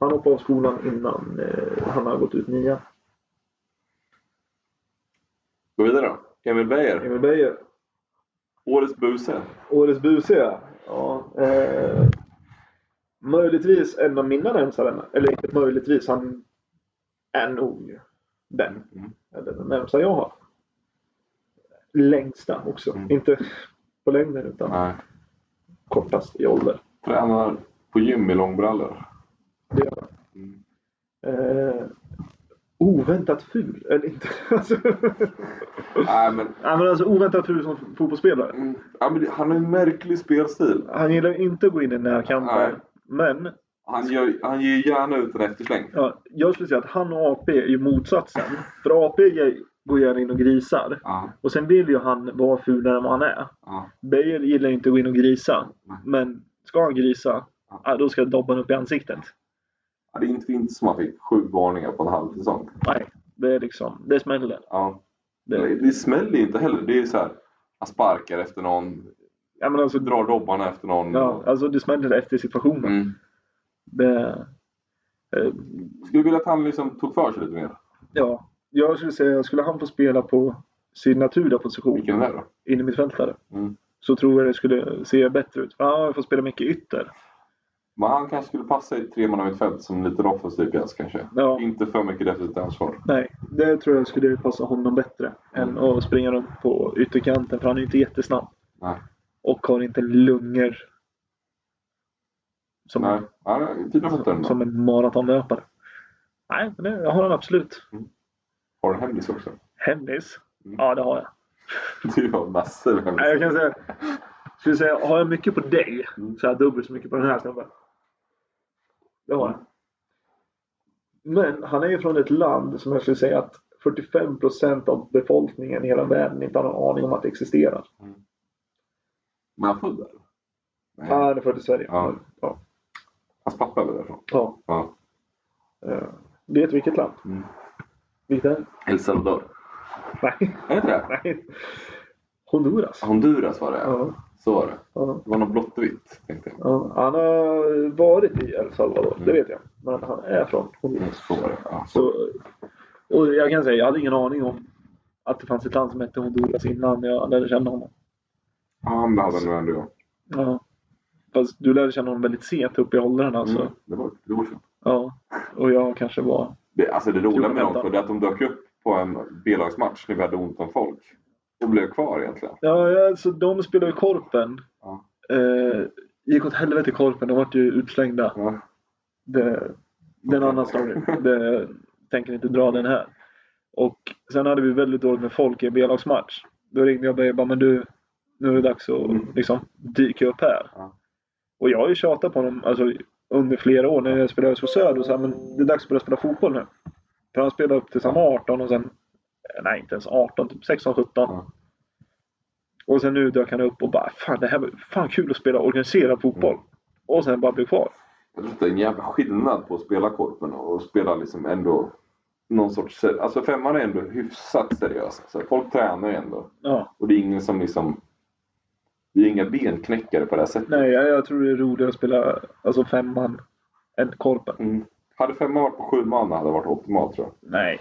Han hoppade av skolan innan eh, han har gått ut nian. Gå vidare då. Emil Beijer. Emil Beijer. Årets buse. Årets busiga. Ja, eh, möjligtvis en av mina närmsta vänner. Eller inte möjligtvis, han är nog den. Mm. Eller den närmsta jag har. Längsta också. Mm. Inte på längden utan Nej. kortast i ålder. Tränar på gym i långbrallor. Det gör han. Mm. Eh, oväntat ful. Eller inte. Alltså, Nej, men, ja, men alltså oväntat ful som fotbollsspelare. mm, ja, men det- han har en märklig spelstil. Han gillar ju inte att gå in i Nej. närkamper. Men Han, gör, han ger ju gärna ut en eftersläng. ja, jag skulle säga att han och AP är ju motsatsen. För AP ge- går gärna in och grisar. Ja, Och sen vill ju han vara fulare än vad han är. ja. Beijer gillar ju inte att gå in och grisa. Nej. Men ska han grisa, ja, då ska dobban upp i ansiktet. Ja, Det är inte fint som han fick sju varningar på en halv säsong. Nej, det är liksom, det smäller. Ja. Det, Det, det smäller ju inte heller. Det är ju så här. Han sparkar efter någon. ja, men alltså, Drar robbarna efter någon. ja, alltså, det smäller efter situationen. Mm. Det, eh, Skulle vilja att han liksom tog för sig lite mer. ja, jag skulle säga, skulle han få spela på sin naturliga position, Vilken är det då? in i mittfältare, Mm. så tror jag det skulle se bättre ut. För han får spela mycket ytter. Men han kanske skulle passa i tre man av ett fält som en liten offensiv pjäs kanske. Ja, Inte för mycket defensivt ansvar. nej, det tror jag skulle passa honom bättre än Mm. att springa runt på ytterkanten, för han är ju inte jättesnabb. Nej. Och har inte lungor som, Nej, han har fina typ fötter ändå. som en maratonlöpare. Nej, men det har han absolut. Mm. Har du en hemlis också? Hennis? Mm. Ja, det har jag. Du har massor med Nej, jag hemlisar. kan säga, skulle säga, har jag mycket på dig så har jag dubbelt så mycket på den här snubben. Det har jag. Men han är ju från ett land som jag skulle säga att 45% av befolkningen i hela världen inte har någon aning om att det existerar. Men han född där? Nej. Han är född i Sverige. Ja. Ja. Hans pappa är väl därifrån? ja. Ja. Eh, Vet vilket land? Mm. Vilket är? El Salvador. Nej. Är det inte det? Nej. Honduras. Honduras var det. Ja, Så var det. ja. Det var något blått och vitt, tänkte jag. Ja, han har varit i El Salvador, det vet jag. Men han är från Mm, Honduras. Så var det. Ja. Så, och jag kan säga, jag hade ingen aning om att det fanns ett land som hette Honduras innan jag lärde känna honom. Ja, men det hade han nog ändå. Ja. Fast du lärde känna honom väldigt sent upp i åldrarna. Så, Mm. Det var ett år sedan. ja. Och jag kanske var... Det, alltså det roliga med dem 2015. för det är att de dök upp på en B-lagsmatch när vi hade ont om folk. Och blev kvar egentligen. Ja, ja, alltså de spelade ju Korpen. Ja. Eh, gick åt helvete i Korpen, de vart ju utslängda. Ja. Det, det är en annan story. Det tänker inte dra den här. Och sen hade vi väldigt dåligt med folk i en B-lagsmatch. Då ringde jag dig och bara, men du, nu är det dags att Mm. liksom, dyka upp här. Ja. Och jag har ju tjatat på honom alltså, under flera år när jag spelade på Söder och så här, men det är dags att börja spela fotboll nu. För han spelade upp tills han var 18 och sen, eh, nej inte ens 18, typ 16, 17. Ja. Och sen nu dök han upp och bara, fan det här var fan kul att spela organiserad fotboll. Mm. Och sen bara blev kvar. Jag tror att det är en jävla skillnad på att spela korpen och att spela liksom ändå någon sorts... ser- Alltså femman är ändå hyfsat seriös. Alltså, folk tränar ju ändå. Ja. Och det är ingen som liksom... Det är inga benknäckare på det här sättet. Nej, jag, jag tror det är roligare att spela alltså femman än korpen. Mm. Hade femman varit på sju man hade det varit optimalt tror jag. Nej.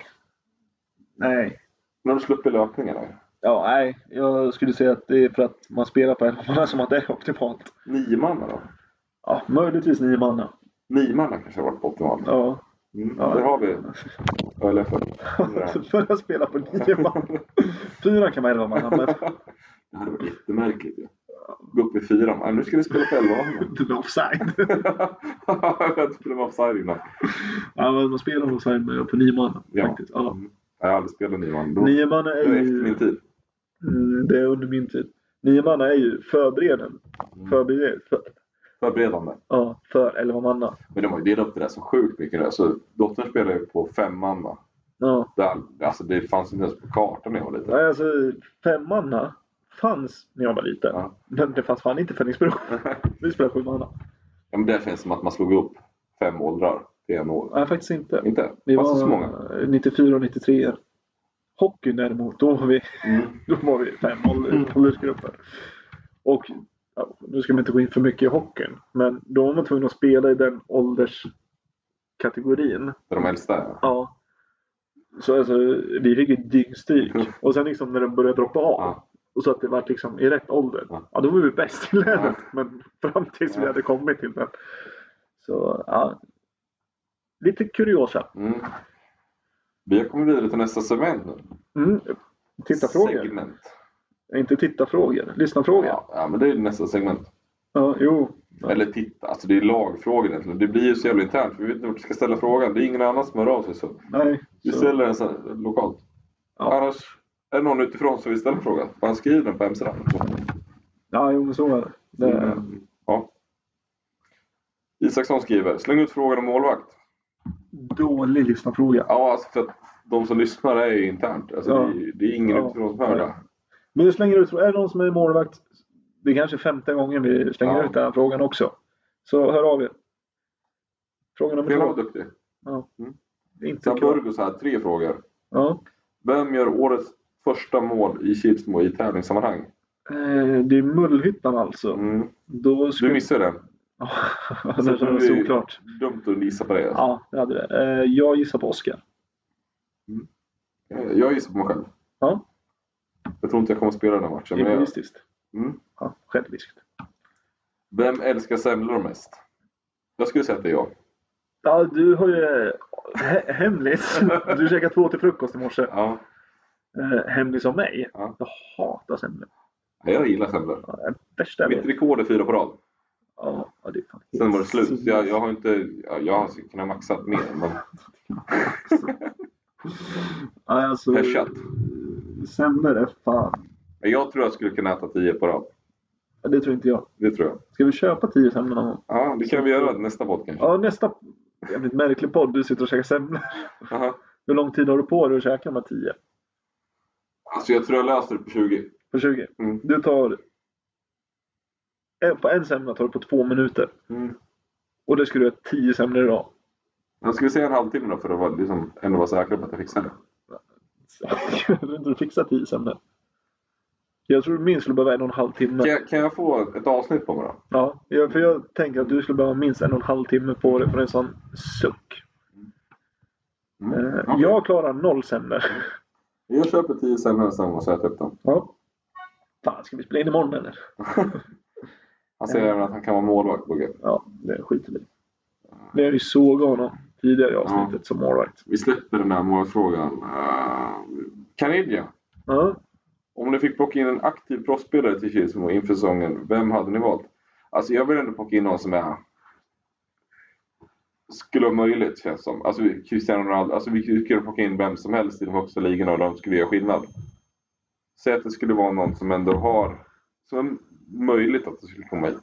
Nej. Nu har du sluppit löpningarna. ju. Ja, nej. Jag skulle säga att det är för att man spelar på elvan som att det är optimalt. Nio man då? Ja, möjligtvis nio manna. Nio man kanske hade varit optimalt. Ja. Mm. Ja. Där har vi eller för. Så Börja spela på nio man. Fyra kan vara elva manna, men Det hade varit jättemärkligt ju. Gå upp i fyran. Nej, nu ska vi spela på elvahallen. det blir offside. jag spelade med offside innan. Ja, men man spelar offside med på nio manna Ja. faktiskt. Ja. Jag har aldrig spelat nio man. Då- Nio manna Det är var efter min ju... tid. Mm, Det är under min tid. Nio manna är ju förberedande. Mm. Förbered... För... Förberedande. Ja, för elva manna. Men de har ju delat upp det där så sjukt mycket. nu. Alltså, dottern spelar ju på femman. va. Ja. Där, alltså, det fanns inte ens på kartan när jag var liten. Nej, alltså femmanna fanns när jag var liten. Ja. Men det fanns fan inte i Fällingsbro. Vi spelade sjumanna. Ja, men det känns som att man slog upp fem åldrar till en år. Nej, faktiskt inte. Inte? Vi Fanns det var så många? 94 och 93. Hockey däremot, då var vi, Mm. då var vi fem ålder, åldersgrupper. Och ja, nu ska man inte gå in för mycket i hockeyn. Men då var man tvungen att spela i den ålderskategorin. Där de äldsta är? Ja. Så alltså, vi fick ju dyngstryk. Och sen liksom när den började droppa av. Mm. Ja. Och så att det var liksom i rätt ålder. Ja. Ja, då var vi bäst i länet. Ja. Men fram tills vi Ja. hade kommit till den. Så ja. Lite kuriosa. Mm. Vi har kommit vidare till nästa segment nu. Mm. Tittarfrågor. Segment. Nej, Inte tittarfrågor. Lyssnarfrågor. Ja. Ja, ja, men det är nästa segment. jo. Ja. Eller titta, alltså det är lagfrågor egentligen. Det blir ju så jävla internt. för Vi vet inte vart vi ska ställa frågan. Det är ingen annan som hör av sig. Så. Nej. Vi Så, ställer den så här, lokalt. Ja. Annars är det någon utifrån som vill ställa frågan. Man skriver den på hemsidan. ja, jo, men så är det. Mm. det. Ja. Isaksson skriver, släng ut frågan om målvakt. Dålig lyssnarfråga. Ja, alltså för att de som lyssnar är ju internt. Alltså Ja. det, är, det är ingen Ja. utifrån som hör det. Men du slänger ut Är det någon som är målvakt? Det är kanske femte gången vi slänger Ja. ut den här frågan också. Så hör av er. Fråga nummer Pelle var två. duktig. Inte Sen kul. Burgos här, tre frågor. Ja. Vem gör årets första mål i Kilsmo i tävlingssammanhang? Eh, Det är Mullhyttan alltså. Mm. Då Du skulle... missade den. Ja, Så det tror kändes vi- såklart. Dumt att gissa på det. alltså. Ja, det hade det. Eh, Jag gissar på Oscar. Eh, Jag gissar på mig själv. Ja. Jag tror inte jag kommer spela den här matchen. Men jag... Egoistiskt. mm. Ja, själviskt. Vem älskar semlor mest? Jag skulle säga att det är jag. Ja, du har ju he- hemlis. Du käkade två till frukost i morse. Ja. Eh, Hemlis av mig. Ja. Jag hatar semlor. Nej, Jag gillar semlor. Ja, det är det Värsta jag Mitt vet. rekord är fyra på rad. Ja, ja, det är fan Sen helt var det slut. sinnes. Jag, jag har inte... Jag, jag har kunnat maxa mer. Men... Nej, alltså, Persat. sämre är fan. Men jag tror jag skulle kunna äta 10 på rad. Ja, Det tror inte jag. Det tror jag. Ska vi köpa tio semlor någon gång? Ja, det kan vi göra nästa podd kanske. Ja, nästa jävligt märklig podd. Du sitter och käkar semlor. Aha. Hur lång tid har du på dig att käka de här tio? Alltså jag tror jag löser det på 20. På 20? Mm. Du tar... en- På en semla tar du på två minuter. Mm. Och det skulle du ha tio semlor idag. Men ska vi säga en halvtimme då för att vara, liksom, ändå vara säkra på att jag fixar det? Så Jag tror inte du fixar tio semlor. Jag tror du minst skulle behöva en och en halv timme. Kan jag, kan jag få ett avsnitt på mig då? Ja, jag- för jag tänker att du skulle behöva minst en och en halv timme på dig för en sån suck. Mm. Eh, Okej. Jag klarar noll semlor. Jag köper 10 semlor nästa gång och typ så äter jag upp dem. Ja. Fan, ska vi spela in imorgon eller? Han säger även att han kan vara målvakt på GP. Ja, det skiter vi i. Vi har ju sågat honom tidigare i avsnittet som målvakt. Vi släpper den där målfrågan. Uh, Kanidja, Ja. om ni fick plocka in en aktiv proffsspelare till Kilsmo inför säsongen, vem hade ni valt? Alltså jag vill ändå plocka in någon som är... Skulle vara möjligt känns som. Alltså vi- Cristiano Ronaldo. Alltså vi skulle kunna plocka in vem som helst i de högsta ligorna och de skulle göra skillnad. Säg att det skulle vara någon som ändå har... Som är möjligt att det skulle komma hit.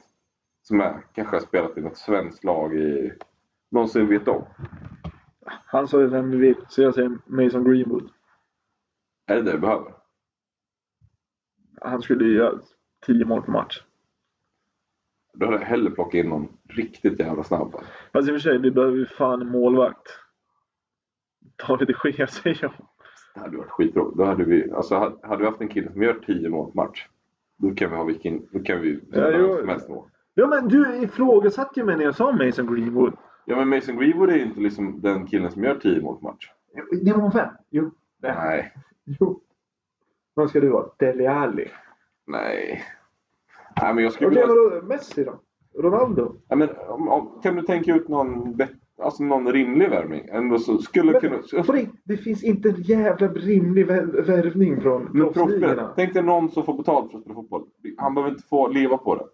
Som är, kanske har spelat i något svenskt lag i... Någon som vi vet om. Han sa ju vem vi vill, så jag säger Mason Greenwood. Är det det vi behöver? Han skulle ju göra 10 mål per match. Då hade jag hellre plockat in någon riktigt jävla snabb. alltså. Fast i och för sig, vi behöver ju fan en målvakt. Ta lite ske, säger jag. Det hade varit skitroligt. Då hade vi, alltså, hade- hade vi haft en kille som gör 10 mål per match. Då kan vi ha vilken, då kan vi spela jo. vem som helst mål. Ja, men du ifrågasatte ju mig när jag sa Mason Greenwood. Ja men Mason Greenwood är ju inte liksom den killen som gör 10 mål per match. Division 5? Jo. Nej. jo. Vem ska du vara? Dele Alli? Nej. Nej men jag skulle Okej, vilja... vadå? Messi då? Ronaldo? Nej, men, om, om, kan du tänka ut någon, bet, alltså, någon rimlig värvning? Ändå så skulle Men, kunna... på det, det finns inte en jävla rimlig vä- värvning från Men proffsspelare. proffsligorna. Tänk dig någon som får betalt för att spela fotboll. Han behöver inte få leva på det.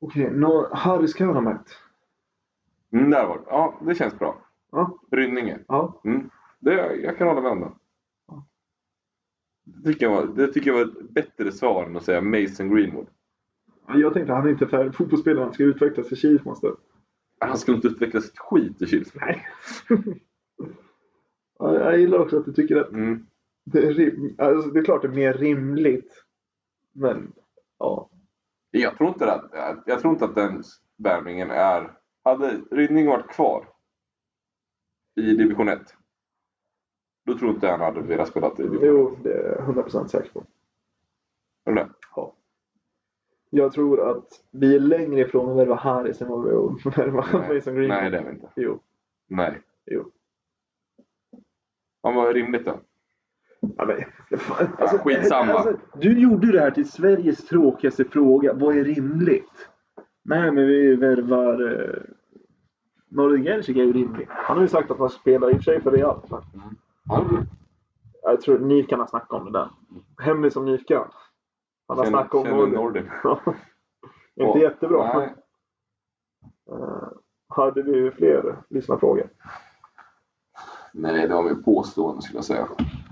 Okej, nå Haris Karamäki. Mm, där var det. Ja, det känns bra. Ja, Rynninge. ja. Mm. Det, jag kan hålla med om det. Det tycker, jag var, det tycker jag var ett bättre svar än att säga Mason Greenwood. Jag tänkte han är inte färdig fotbollsspelare, han ska utvecklas i Kif måste. Han skulle inte utveckla sitt skit i Kilsmo. Nej. Ja, jag gillar också att du tycker att Mm. det är rim... alltså, det är klart det är mer rimligt. Men ja. Jag, tror inte att, jag tror inte att den värvningen är... Hade Rynninge varit kvar i division 1 då tror inte jag han hade velat spela i division 1. Jo, det är jag 100% säker på. Eller? Jag tror att vi är längre ifrån att värva Haris än vad vi är att värva Nej. Mason Green. Nej, det är vi inte. Jo. Nej. Jo. Ja, vad är rimligt då? Ja, men, fan, Alltså, Ja, skitsamma. du gjorde ju det här till Sveriges tråkigaste fråga. Vad är rimligt? Nej, men vi värvar... Eh, Nordin Gerzic är ju rimlig. Han har ju sagt att han spelar i och för sig för Real. men Mm. Ja, det är- Jag tror Nivkan har snackat om det där. Hemlig som Nivkan. Han har Känner- snackat om känner Nordin. Nordin. Inte jättebra. Nej. men, eh, Hade vi fler lyssnarfrågor? Nej, det var mer påstående skulle jag säga.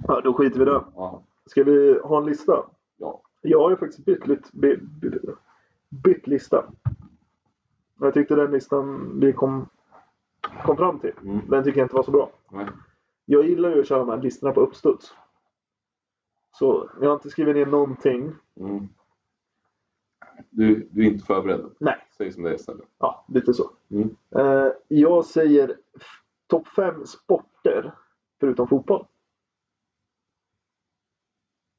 Ja, då skiter vi i det. Ja. Ska vi ha en lista? ja. Jag har ju faktiskt bytt, lit- by, by, bytt lista. Jag tyckte den listan vi kom, kom fram till, Mm. den tycker jag inte var så bra. Nej. Jag gillar ju att köra de här listorna på uppstuds. Så jag har inte skrivit ner någonting. Mm. Du, du är inte förberedd. Nej, Säg som det är istället. ja, lite så. Mm. Eh, jag säger f- topp fem sporter förutom fotboll.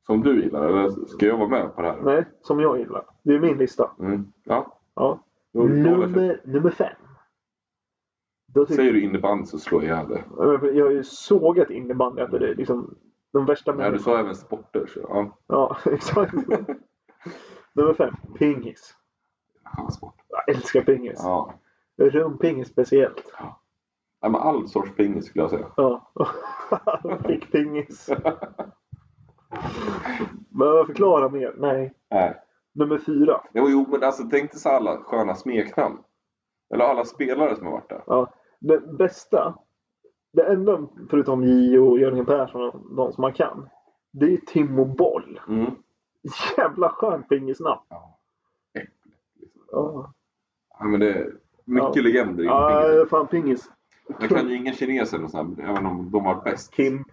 Som du gillar, eller ska jag vara med på det här? Nej, som jag gillar. Det är min lista. Mm. Ja. Ja. Då håller jag Nummer, nummer fem. Då för- tycker Säger du innebandy så slår jag ihjäl dig. Jag har ju sågat innebandy att det är liksom de värsta Ja, du människorna. sa även sporter. Så ja. Ja, exakt. Nummer fem, pingis. Ja, sport. Jag älskar pingis. Ja. Rumpingis speciellt. Nej, men all sorts pingis skulle jag säga. Ja. Fick pingis. Behöver jag förklara mer? Nej. Nej. Nummer fyra. Jo, jo, men alltså tänk dig så alla sköna smeknamn. Eller alla spelare som har varit där. Ja. Den bästa Det enda, förutom J och Jörgen Persson och de som man kan, det är ju Timo Boll. Mm. Jävla skön pingisnapp. Ja. Liksom. Ja, Ja, men det är mycket Ja. legender inom ja pingisen. fan pingis. Jag kan ju inga kineser, och så här, även om de var bäst. Kim,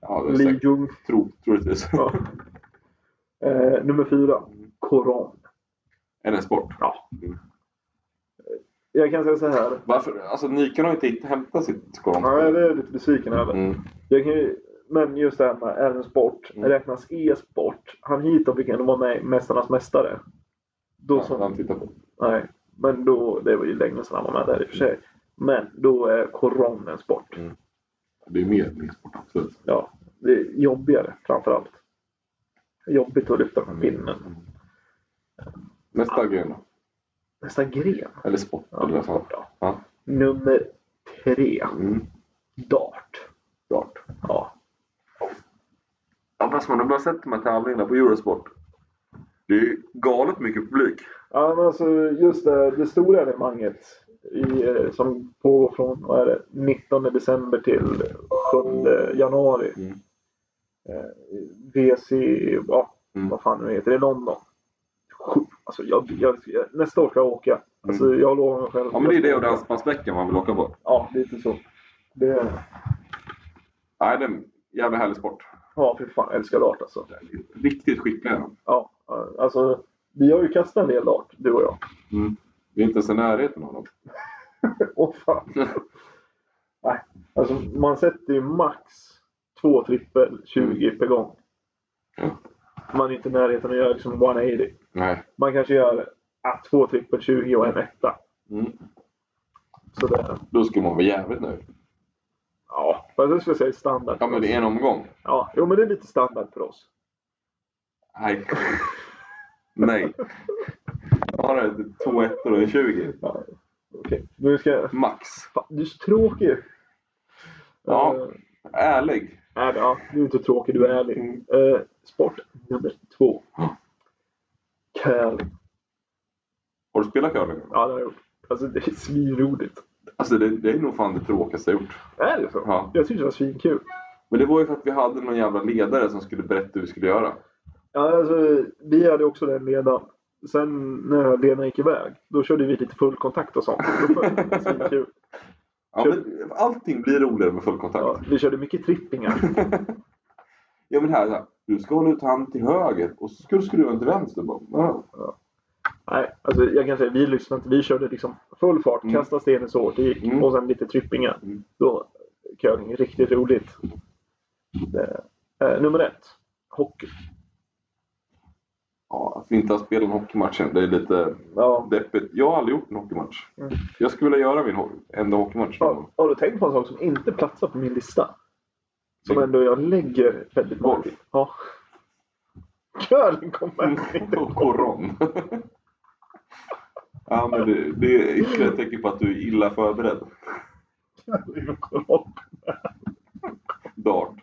Ja, det är Lee säkert. Jung. Tro, troligtvis. Ja. Eh, nummer fyra, Koran. Är det en sport? Ja. Jag kan säga så här. Varför? Alltså, Nikon har ju inte hämtat sitt Ja, koran. det är jag lite besviken över. Mm. Jag kan ju, men just det här med är en sport, Mm. räknas e-sport? Han hit fick ändå vara med i Mästarnas Mästare. Då som, Han tittar på. Nej, men då, det var ju länge sedan han var med där i och för sig. Men då är koron en sport. Det är ju mer, mer sport, absolut. Ja, det är jobbigare framförallt. Jobbigt att lyfta Mm. från pinnen. Nästa gren då? Nästa gren. Eller sport, Ja, eller vad fan. sport då. Ja. Nummer tre. Mm. Dart. Klart. Ja. Ja, fast man har bara sett de här tävlingarna på Eurosport. Det är ju galet mycket publik. Ja, men alltså just det, det stora evenemanget i, eh, som pågår från vad är det, 19 december till 7 januari. Mm. Eh, VC, ja, Mm. vad fan nu heter det, i London. Sjukt, Alltså, jag, jag, jag, nästa år ska jag åka. Alltså, Mm. Jag lovar mig själv. Ja, men det är det och dansbandsveckan man vill åka på. Ja, lite så. Det, Nej, det är en jävla härlig sport. ja, fy fan, jag älskar dart alltså. Riktigt skickliga är de. Ja, alltså, vi har ju kastat en del dart, du och jag. Vi Mm. är inte ens i närheten av dem. Åh fan. Nej, alltså man sätter ju max två trippel 20 per gång. Ja. Man är inte i närheten att göra liksom 180. Nej. Man kanske gör ah, två trippel 20 och en etta. Mm. Sådär. Då skulle man vara jävligt nöjd. Ja, fast det skulle jag säga är standard. Ja, men det är en omgång. ja, jo, men det är lite standard för oss. Nej. Nej. Jag har det, två ettor och en 20. Ja, okej. Nu ska jag... Max. Fan, du är så tråkig. Ja. Eh, Ärlig. nej, ja, du är inte tråkig, du är ärlig. Mm. Eh, sport nummer två. Ja. Curling. Har du spelat curling? Ja, det har jag gjort. Alltså det är svinroligt. Alltså det, det är nog fan det tråkigaste jag gjort. Är det så? Ja. Jag tyckte det var svinkul. Men det var ju för att vi hade någon jävla ledare som skulle berätta hur vi skulle göra. Ja, alltså, vi hade också den ledan. Sen när ledan gick iväg, då körde vi lite full kontakt och sånt. Då var det svinkul. Ja, men allting blir roligare med full kontakt. Ja, vi körde mycket trippingar. Ja men här, så här, du ska hålla ut handen till höger och så ska du skruva den till vänster. Bara, ja. Nej, alltså, jag kan säga vi lyssnade inte. Vi körde liksom full fart, Mm. kasta stenen så hårt det gick Mm. och sen lite trippingar. Mm. Då curling, riktigt roligt. Det, eh, nummer ett, hockey. Ja, att vi inte har spelat en hockeymatch än, det är lite Ja. deppigt. Jag har aldrig gjort en hockeymatch. Mm. Jag skulle vilja göra min ho- enda hockeymatch. någon Har, gång. har du tänkt på en sak som inte platsar på min lista? Som Lägg- ändå jag lägger väldigt många Golf. till. Ja. Curling kommer inte Och Koron. ja men det, det är ytterligare ett tecken på att du är illa förberedd. curling. Dart.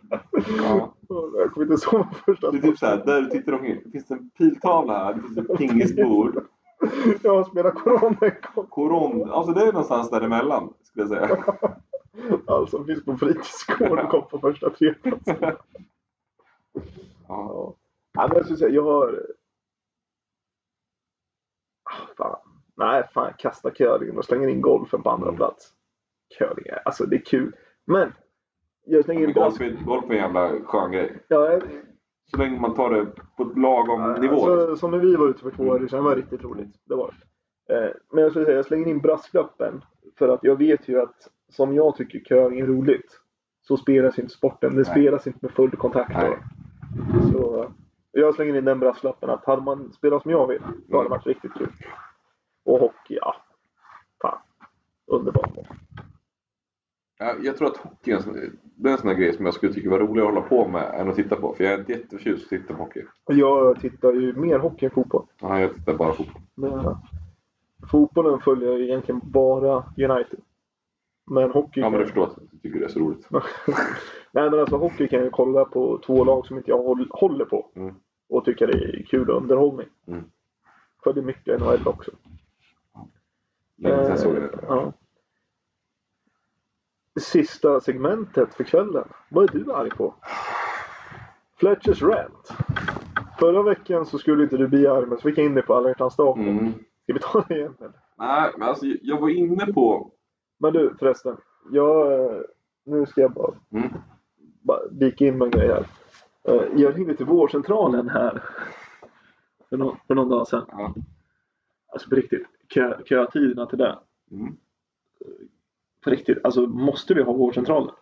Ja. Jag kommer inte sova första Det är typ såhär, där du tittar omkring. Det finns en piltavla här, det finns ett pingisbord. Jag har spelat corona en gång. Koron. Alltså det är någonstans däremellan skulle jag säga. Alltså finns på fritidsgården och kom på första treplatsen. Ja. Ja. Ja, men jag skulle säga, jag har... Ah, Fan. Nej, fan kasta curlingen och slänger in golfen på andra Mm. plats. Curling, är- alltså det är kul. Men! Jag slänger in Men golf. golf, är- golf är en jävla skön grej. Ja, jag- Så länge man tar det på ett lagom nivå. liksom. Alltså, som när vi var ute för två år sedan, det var riktigt roligt. Det var det. Eh, Men jag skulle säga, jag slänger in brasklappen. För att jag vet ju att, som jag tycker curling är roligt, så spelas inte sporten. Det Nej. spelas inte med full kontakt Nej. då. Så eh, jag slänger in den brasklappen att hade man spelat som jag vill, då Mm. hade det varit riktigt kul. Och hockey, ja. Fan. Underbart. Jag, jag tror att hockey är en sån, det är en sån här grej som jag skulle tycka var roligare att hålla på med än att titta på. För jag är inte jätteförtjust att titta på hockey. Jag tittar ju mer hockey än fotboll. Nej, jag tittar bara på fotboll. Men eh, fotbollen följer jag egentligen bara United. Men hockey Ja, kan men du jag- förstår att jag tycker det är så roligt. Nej men alltså hockey kan jag kolla på två lag som inte jag håll- håller på. Mm. Och tycka det är kul och underhållning. Mm. Följer mycket NHL också. Länge sedan Eh, såg jag det. Ja. sista segmentet för kvällen. Vad är du arg på? Fletchers Rant. Förra veckan så skulle inte du bli arg, men så fick jag in dig på alla hjärtans dag. Mm. Ska vi ta det igen? Eller? Nej, men alltså jag var inne på... Men du förresten. Jag, eh, nu ska jag bara, Mm. bara vika in med en grej här. Eh, Jag ringde till vårdcentralen här för någon, för någon dag sedan. Ja. Alltså på riktigt, kö, kötiderna till det. Mm. På riktigt, alltså måste vi ha vårdcentraler?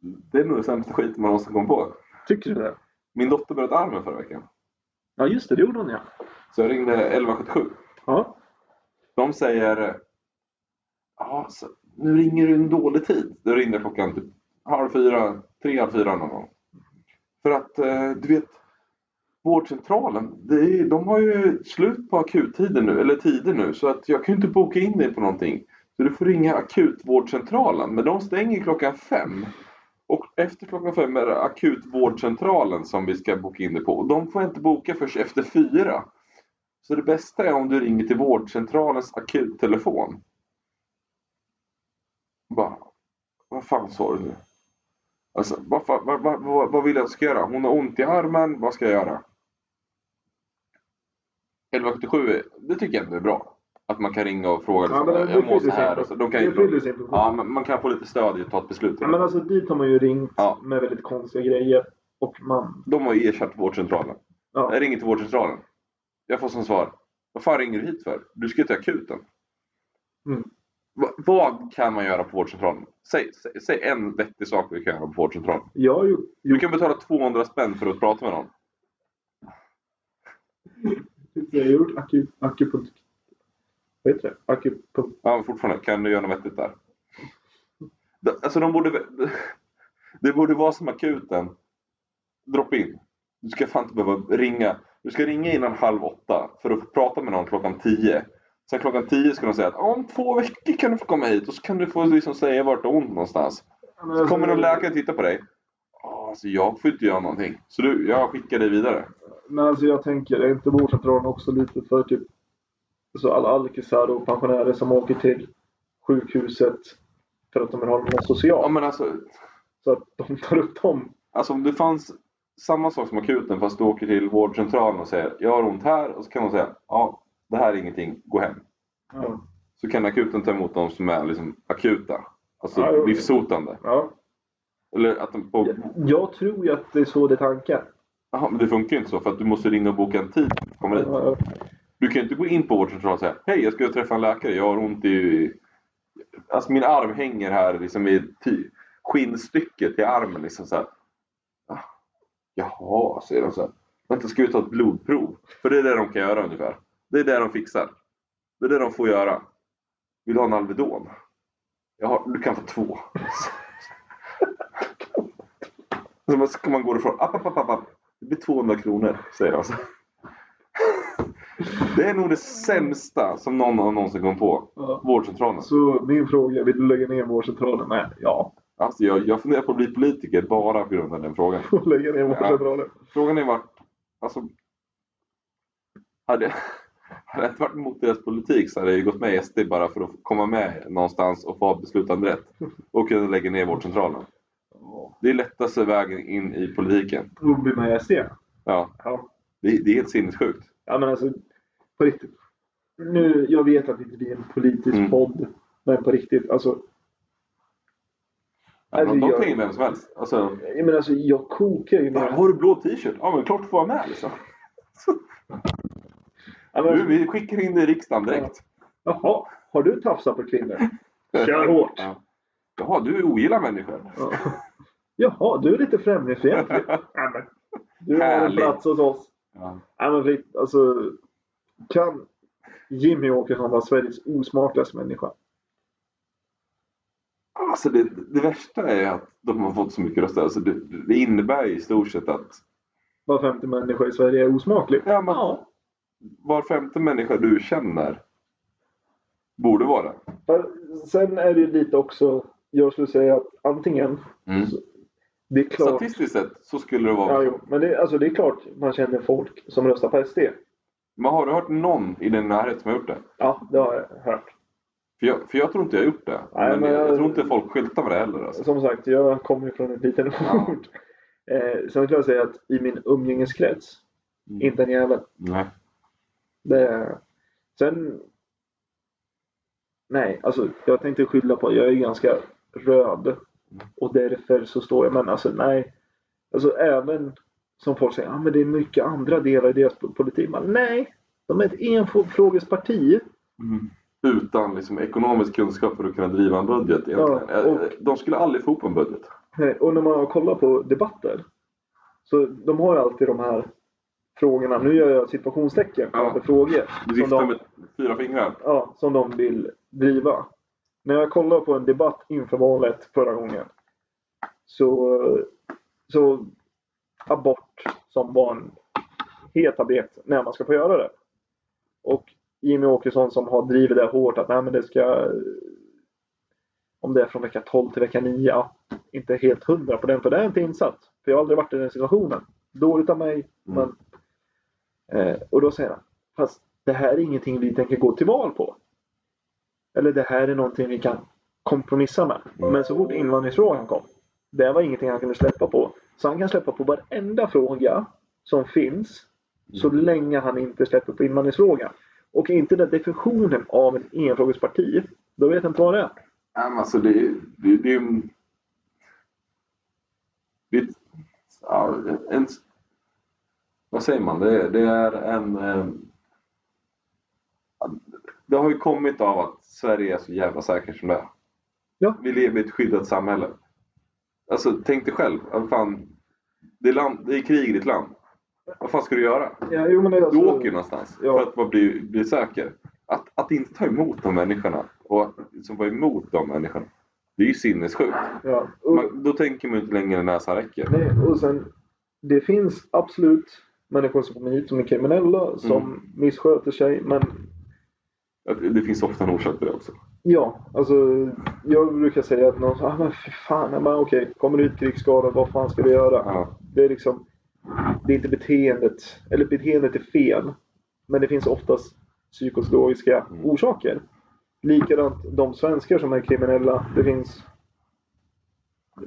Det är nog det sämsta skit man någonsin kom på. Tycker du det? Min dotter bröt armen förra veckan. Ja just det, det gjorde hon ja. Så jag ringde 1177. Ja, De säger... Ja, så, nu ringer du en dålig tid. Då ringde klockan typ halv fyra, tre, halv fyra någon gång. För att eh, du vet, vårdcentralen, det är, de har ju slut på akuttider nu, eller tider nu, så att jag kan ju inte boka in dig på någonting. Så du får ringa akutvårdcentralen, men de stänger klockan fem. Och efter klockan fem är det akutvårdcentralen som vi ska boka in dig på. Och de får jag inte boka förrän efter fyra. Så det bästa är om du ringer till vårdcentralens akuttelefon. Bara, vad fan sa du nu? Alltså, vad, fan- vad, vad, vad, vad vill jag att jag ska göra? Hon har ont i armen, vad ska jag göra? 1177, är- det tycker jag ändå är bra. Att man kan ringa och fråga. Ja, Liksom, men det- det jag mår så fyller sin- här. och så. De kan det ju- fyller sin funktion. ja, men man kan få lite stöd i att ta ett beslut. Ja, men alltså dit har man ju ringt Ja. med väldigt konstiga grejer. Och man... De har ju ersatt vårdcentralen. Ja. Jag ringer till vårdcentralen. Jag får som svar. Vad fan ringer du hit för? Du ska ju till akuten. Mm. Va, vad kan man göra på vårdcentralen? Säg, säg, säg en vettig sak vi kan göra på vårdcentralen. Jag har ju... Du kan betala 200 spänn för att prata med någon. Jag har gjort aku... akupunkt... Vad heter det? Akupunkt... Ja, men fortfarande. Kan du göra något vettigt där? D- Alltså de borde... vä- Det borde vara som akuten. Drop in. Du ska fan inte behöva ringa. Du ska ringa innan halv åtta för att få prata med någon klockan tio. Sen klockan tio ska de säga att "Ja, om två veckor kan du få komma hit och så kan du få liksom säga vart det är ont någonstans. Ja, men Så alltså- kommer någon läkare titta på dig. "Ja, Alltså jag får inte göra någonting. Så du, jag skickar dig vidare. Men alltså jag tänker, är inte vårdcentralen också lite för typ så alla alkisar och pensionärer som åker till sjukhuset för att de vill ha något socialt? Ja men alltså, Så att de tar upp dem. Alltså om det fanns samma sak som akuten fast du åker till vårdcentralen och säger jag har ont här och så kan de säga ja det här är ingenting, gå hem. Ja. Så kan akuten ta emot de som är liksom akuta, alltså Ja, jo. livshotande. Eller att de på... Jag tror ju att det är så det är tanken. Jaha, men det funkar ju inte så för att du måste ringa och boka en tid. för att komma dit. Ja, Du kan ju inte gå in på vårdcentralen och säga hej jag ska träffa en läkare, jag har ont i... Alltså min arm hänger här liksom i ty... skinnstycket i armen liksom så här. "Ah, Jaha, säger de så här. Vänta, ska vi ta ett blodprov? För det är det de kan göra ungefär. Det är det de fixar. Det är det de får göra. Vill du ha en Alvedon? Jaha, du kan få två. Så man- så kan man gå ifrån. App, app, app, app, app. Det blir 200 kronor, säger de. så här. Det är nog det sämsta som någon har någonsin kom på. ja. Vårdcentralen. Så min fråga, vill du lägga ner vårdcentralen? Nej, ja. Alltså jag, jag funderar på att bli politiker bara på grund av den frågan. lägga ner vårdcentralen. Frågan är vart... Alltså, hade, hade jag inte varit emot deras politik så hade jag ju gått med i SD bara för att komma med någonstans och få ha beslutanderätt. Och kunna lägga ner vårdcentralen. Ja. Det är lättaste vägen in i politiken. Då blir man SD. Ja, Ja. det, det är helt sinnessjukt. ja, men alltså på riktigt. Nu, jag vet att det inte blir en politisk Mm. podd. Men på riktigt, alltså Ja, de, de Alltså, jag- tar in vem som helst. Alltså, Jag menar alltså, jag kokar ju "Fan, ner. har du blå t-shirt? Ja, men klart du får vara med liksom. Ja, men Du, alltså, vi skickar in dig i riksdagen direkt. jaha, har du tafsat på kvinnor? Kör hårt. Ja. Jaha, du ogillar människor. Ja. Jaha, du är lite främlingsfientlig. Ja, men, du har en Härligt. plats hos oss. Ja. Ja, men, fritt, alltså, kan Jimmy Åkesson vara Sveriges osmartigaste människa? Alltså det, det värsta är att de har fått så mycket röster. Alltså det, det innebär i stort sett att Var femte människa i Sverige är osmaklig. Ja, men- Ja. var femte människa du känner borde vara det. För Sen är det ju lite också, jag skulle säga att antingen, det är klart, Statistiskt sett så skulle det Mm. ja, vara jo, så. men det, alltså, det är klart man känner folk som röstar på SD. Men har du hört någon i din närhet som har gjort det? Ja, det har jag hört. För jag, för jag tror inte jag har gjort det. Nej, men men jag, jag- tror inte folk skyltar med det heller. Alltså. Som sagt, jag kommer ju från en liten Ja. ort. Eh, sen vill jag säga att i min umgängeskrets, Mm. inte en jävel. Nej. Det, sen... Nej, alltså jag tänkte skylla på jag är ganska röd. Mm. Och därför så står jag, men alltså nej. Alltså även som folk säger, ah, men det är mycket andra delar i deras politik. Men nej, de är ett enfrågesparti. Mm. Utan liksom, ekonomisk kunskap för att kunna driva en budget egentligen. Ja, och- Eh, De skulle aldrig få upp en budget. Nej, Och när man kollar på debatter. Så de har ju alltid de här frågorna. Nu gör jag situationstecken Ja. framför frågor. som Du viftar de- med fyra fingrar. ja, som de vill driva. När jag kollade på en debatt inför valet förra gången så, så abort som var en het abet när man ska få göra det. Och Jimmy Åkesson som har drivit det hårt att nej, men det ska om det är från vecka 12 till vecka 9 ja, inte helt hundra på den för det är jag inte insatt. För jag har aldrig varit i den situationen. Dåligt av mig. Mm. Men, eh, och då säger han Fast det här är ingenting vi tänker gå till val på. Eller det här är någonting vi kan kompromissa med. Mm. Men så fort invandringsfrågan kom. Det var ingenting han kunde släppa på. Så han kan släppa på varenda fråga som finns. Så Mm. länge han inte släpper på invandringsfrågan. Och är inte den definitionen av ett enfrågesparti. Då vet jag inte vad det är. Nej, men alltså det, det, det, är en- det, är- ja, en, vad säger man? Det, är- det är en... eh, Det har ju kommit av att Sverige är så jävla säkert som det är. Ja. Vi lever i ett skyddat samhälle. Alltså tänk dig själv. Vad fan, det, är land, det är krig i ditt land. Vad fan ska du göra? Ja, jo, men det är Du alltså- åker ju någonstans Ja. för att man blir, blir säker. Att, att inte ta emot de människorna och att, som var emot de människorna. Det är ju sinnessjukt. Ja. Och, Man, då tänker man ju inte längre än näsan räcker. nej, och sen, det finns absolut människor som kommer hit som är kriminella, som Mm. missköter sig. Men Att Det finns ofta en orsak till det också. Ja, alltså jag brukar säga att någon säger ah, men fy fan, ja, men okej, kommer du hit krigsskadad, vad fan ska du göra? Ja. Det är liksom, det är inte beteendet, eller beteendet är fel, men det finns oftast psykologiska Mm. orsaker. Likadant de svenskar som är kriminella, det finns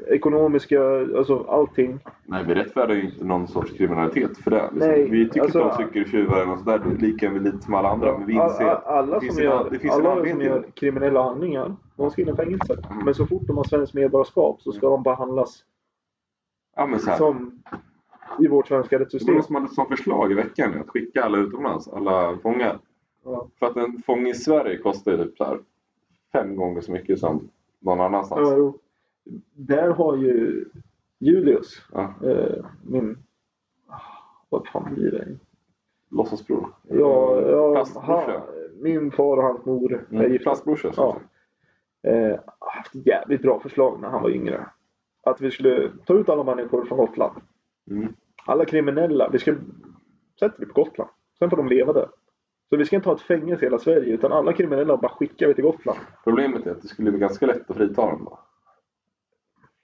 ekonomiska, alltså allting. Nej, vi rättfärdigar ju inte någon sorts kriminalitet för det. Liksom, Nej, vi tycker alltså- inte om cykeltjuvar eller något sådär. Det är lika lite som alla andra. Men vi All- inser all- att alla det finns som en, gör, det finns en alla anledning som till gör det. kriminella handlingar, de ska in i fängelse. Mm. Men så fort de har svenskt medborgarskap så ska de behandlas Ja, men så här. Mm. som i vårt svenska Det var rättssystem. någon som hade som förslag i veckan att skicka alla utomlands, alla fångar. Ja. För att en fånge i Sverige kostar ju typ så här fem gånger så mycket som någon annanstans. Ja, jo. Där har ju Julius, Ja. eh, min... ah, Vad fan blir det? Låtsasbror. Ja, ja, han, Plastbrorsa. min far och hans mor är Mm. gifta. Plastbrorsa. Ja. så. Eh, haft ett jävligt bra förslag när han var yngre. Att vi skulle ta ut alla människor från Gotland. Mm. Alla kriminella. Vi ska sätta vi på Gotland. Sen får de leva där. Så vi ska inte ha ett fängelse i hela Sverige utan alla kriminella bara skickar vi till Gotland. Problemet är att det skulle bli ganska lätt att frita dem då.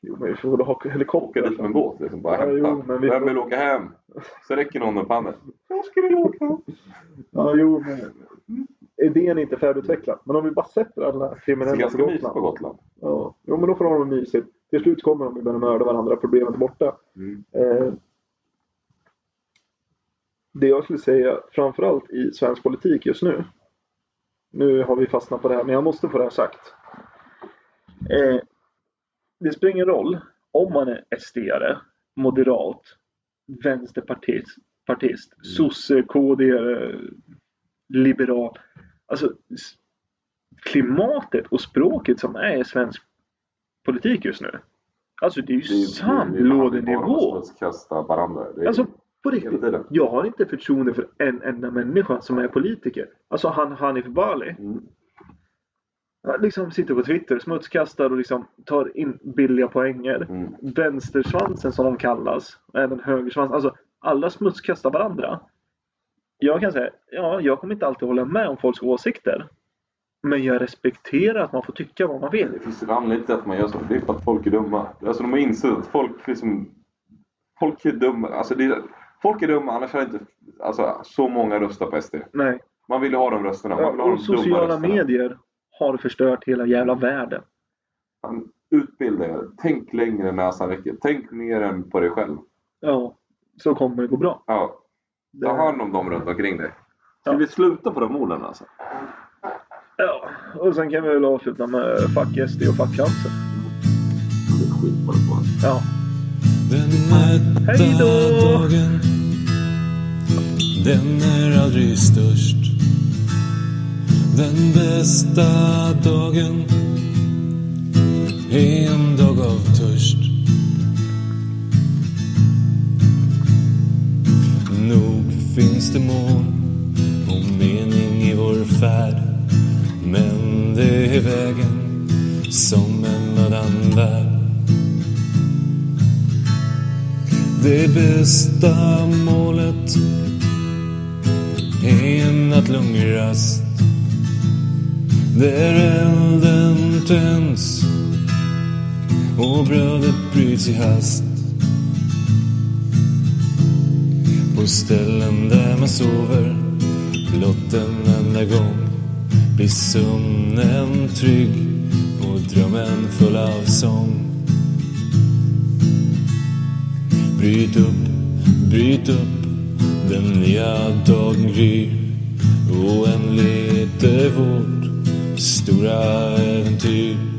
Jo, men vi får väl ha Åka dit med helikopter. en båt liksom. Bara Ja, hämta. jo, men vi- Vem vill åka hem? Så räcker någon upp handen. Jag skulle vilja åka. Ja, jo, men idén är inte färdigutvecklad. Men om vi bara sätter alla Det är kriminella på ganska mysigt på Gotland. Gotland. Ja, jo, men då får de ha det mysigt. Till slut kommer de ju börja mörda varandra. Problemet är borta. Mm. Eh, det jag skulle säga framförallt i svensk politik just nu. Nu har vi fastnat på det här, men jag måste få det här sagt. Eh, det spelar ingen roll om man är SD-are, moderat, vänsterpartist, partist, sosse, KD, eh, liberal. Alltså s- klimatet och språket som är i svensk politik just nu. Alltså det är ju Det är ju- Det är ju sandlådenivå. bara att kasta varandra. Det är- Alltså på Hela riktigt. tiden. Jag har inte förtroende för en enda människa som är politiker. Alltså han Hanif Bali. Mm. Han Liksom sitter på Twitter, smutskastar och liksom tar in billiga poänger. Mm. Vänstersvansen som de kallas. och Även högersvansen. Alltså alla smutskastar varandra. Jag kan säga, ja jag kommer inte alltid hålla med om folks åsikter. Men jag respekterar att man får tycka vad man vill. Det finns en anledning till att man gör så. Det är för att folk är dumma. Alltså de har insett att folk liksom... Folk är dumma. Alltså det är, folk är dumma, annars hade inte alltså, så många röstat på SD. Nej. Man vill ju ha de rösterna. Man vill ha Och de dumma sociala rösterna. medier har förstört hela jävla världen. Fan, Utbilda er. Tänk längre än näsan räcker. Tänk mer än på dig själv. Ja, så kommer det gå bra. Ja. Det, Ta hand om dem runt omkring dig. Ska Ja. vi sluta på de orden alltså? ja. Och sen kan vi väl avsluta med Fuck SD och Fuck Cancer. Det är skit vad det var. Ja. Den mätta Hejdå! dagen Den är aldrig störst Den bästa dagen Är en dag av törst Nog finns det mål och mening i vår färd Men det är vägen som en annan värld Det bästa målet är en nattlång rast där elden tänds och brödet bryts i hast på ställen där man sover blott en enda gång blir sömnen trygg och drömmen full av sång Bryt upp, bryt upp Den nya dagen gryr Oändligt är vårt stora äventyr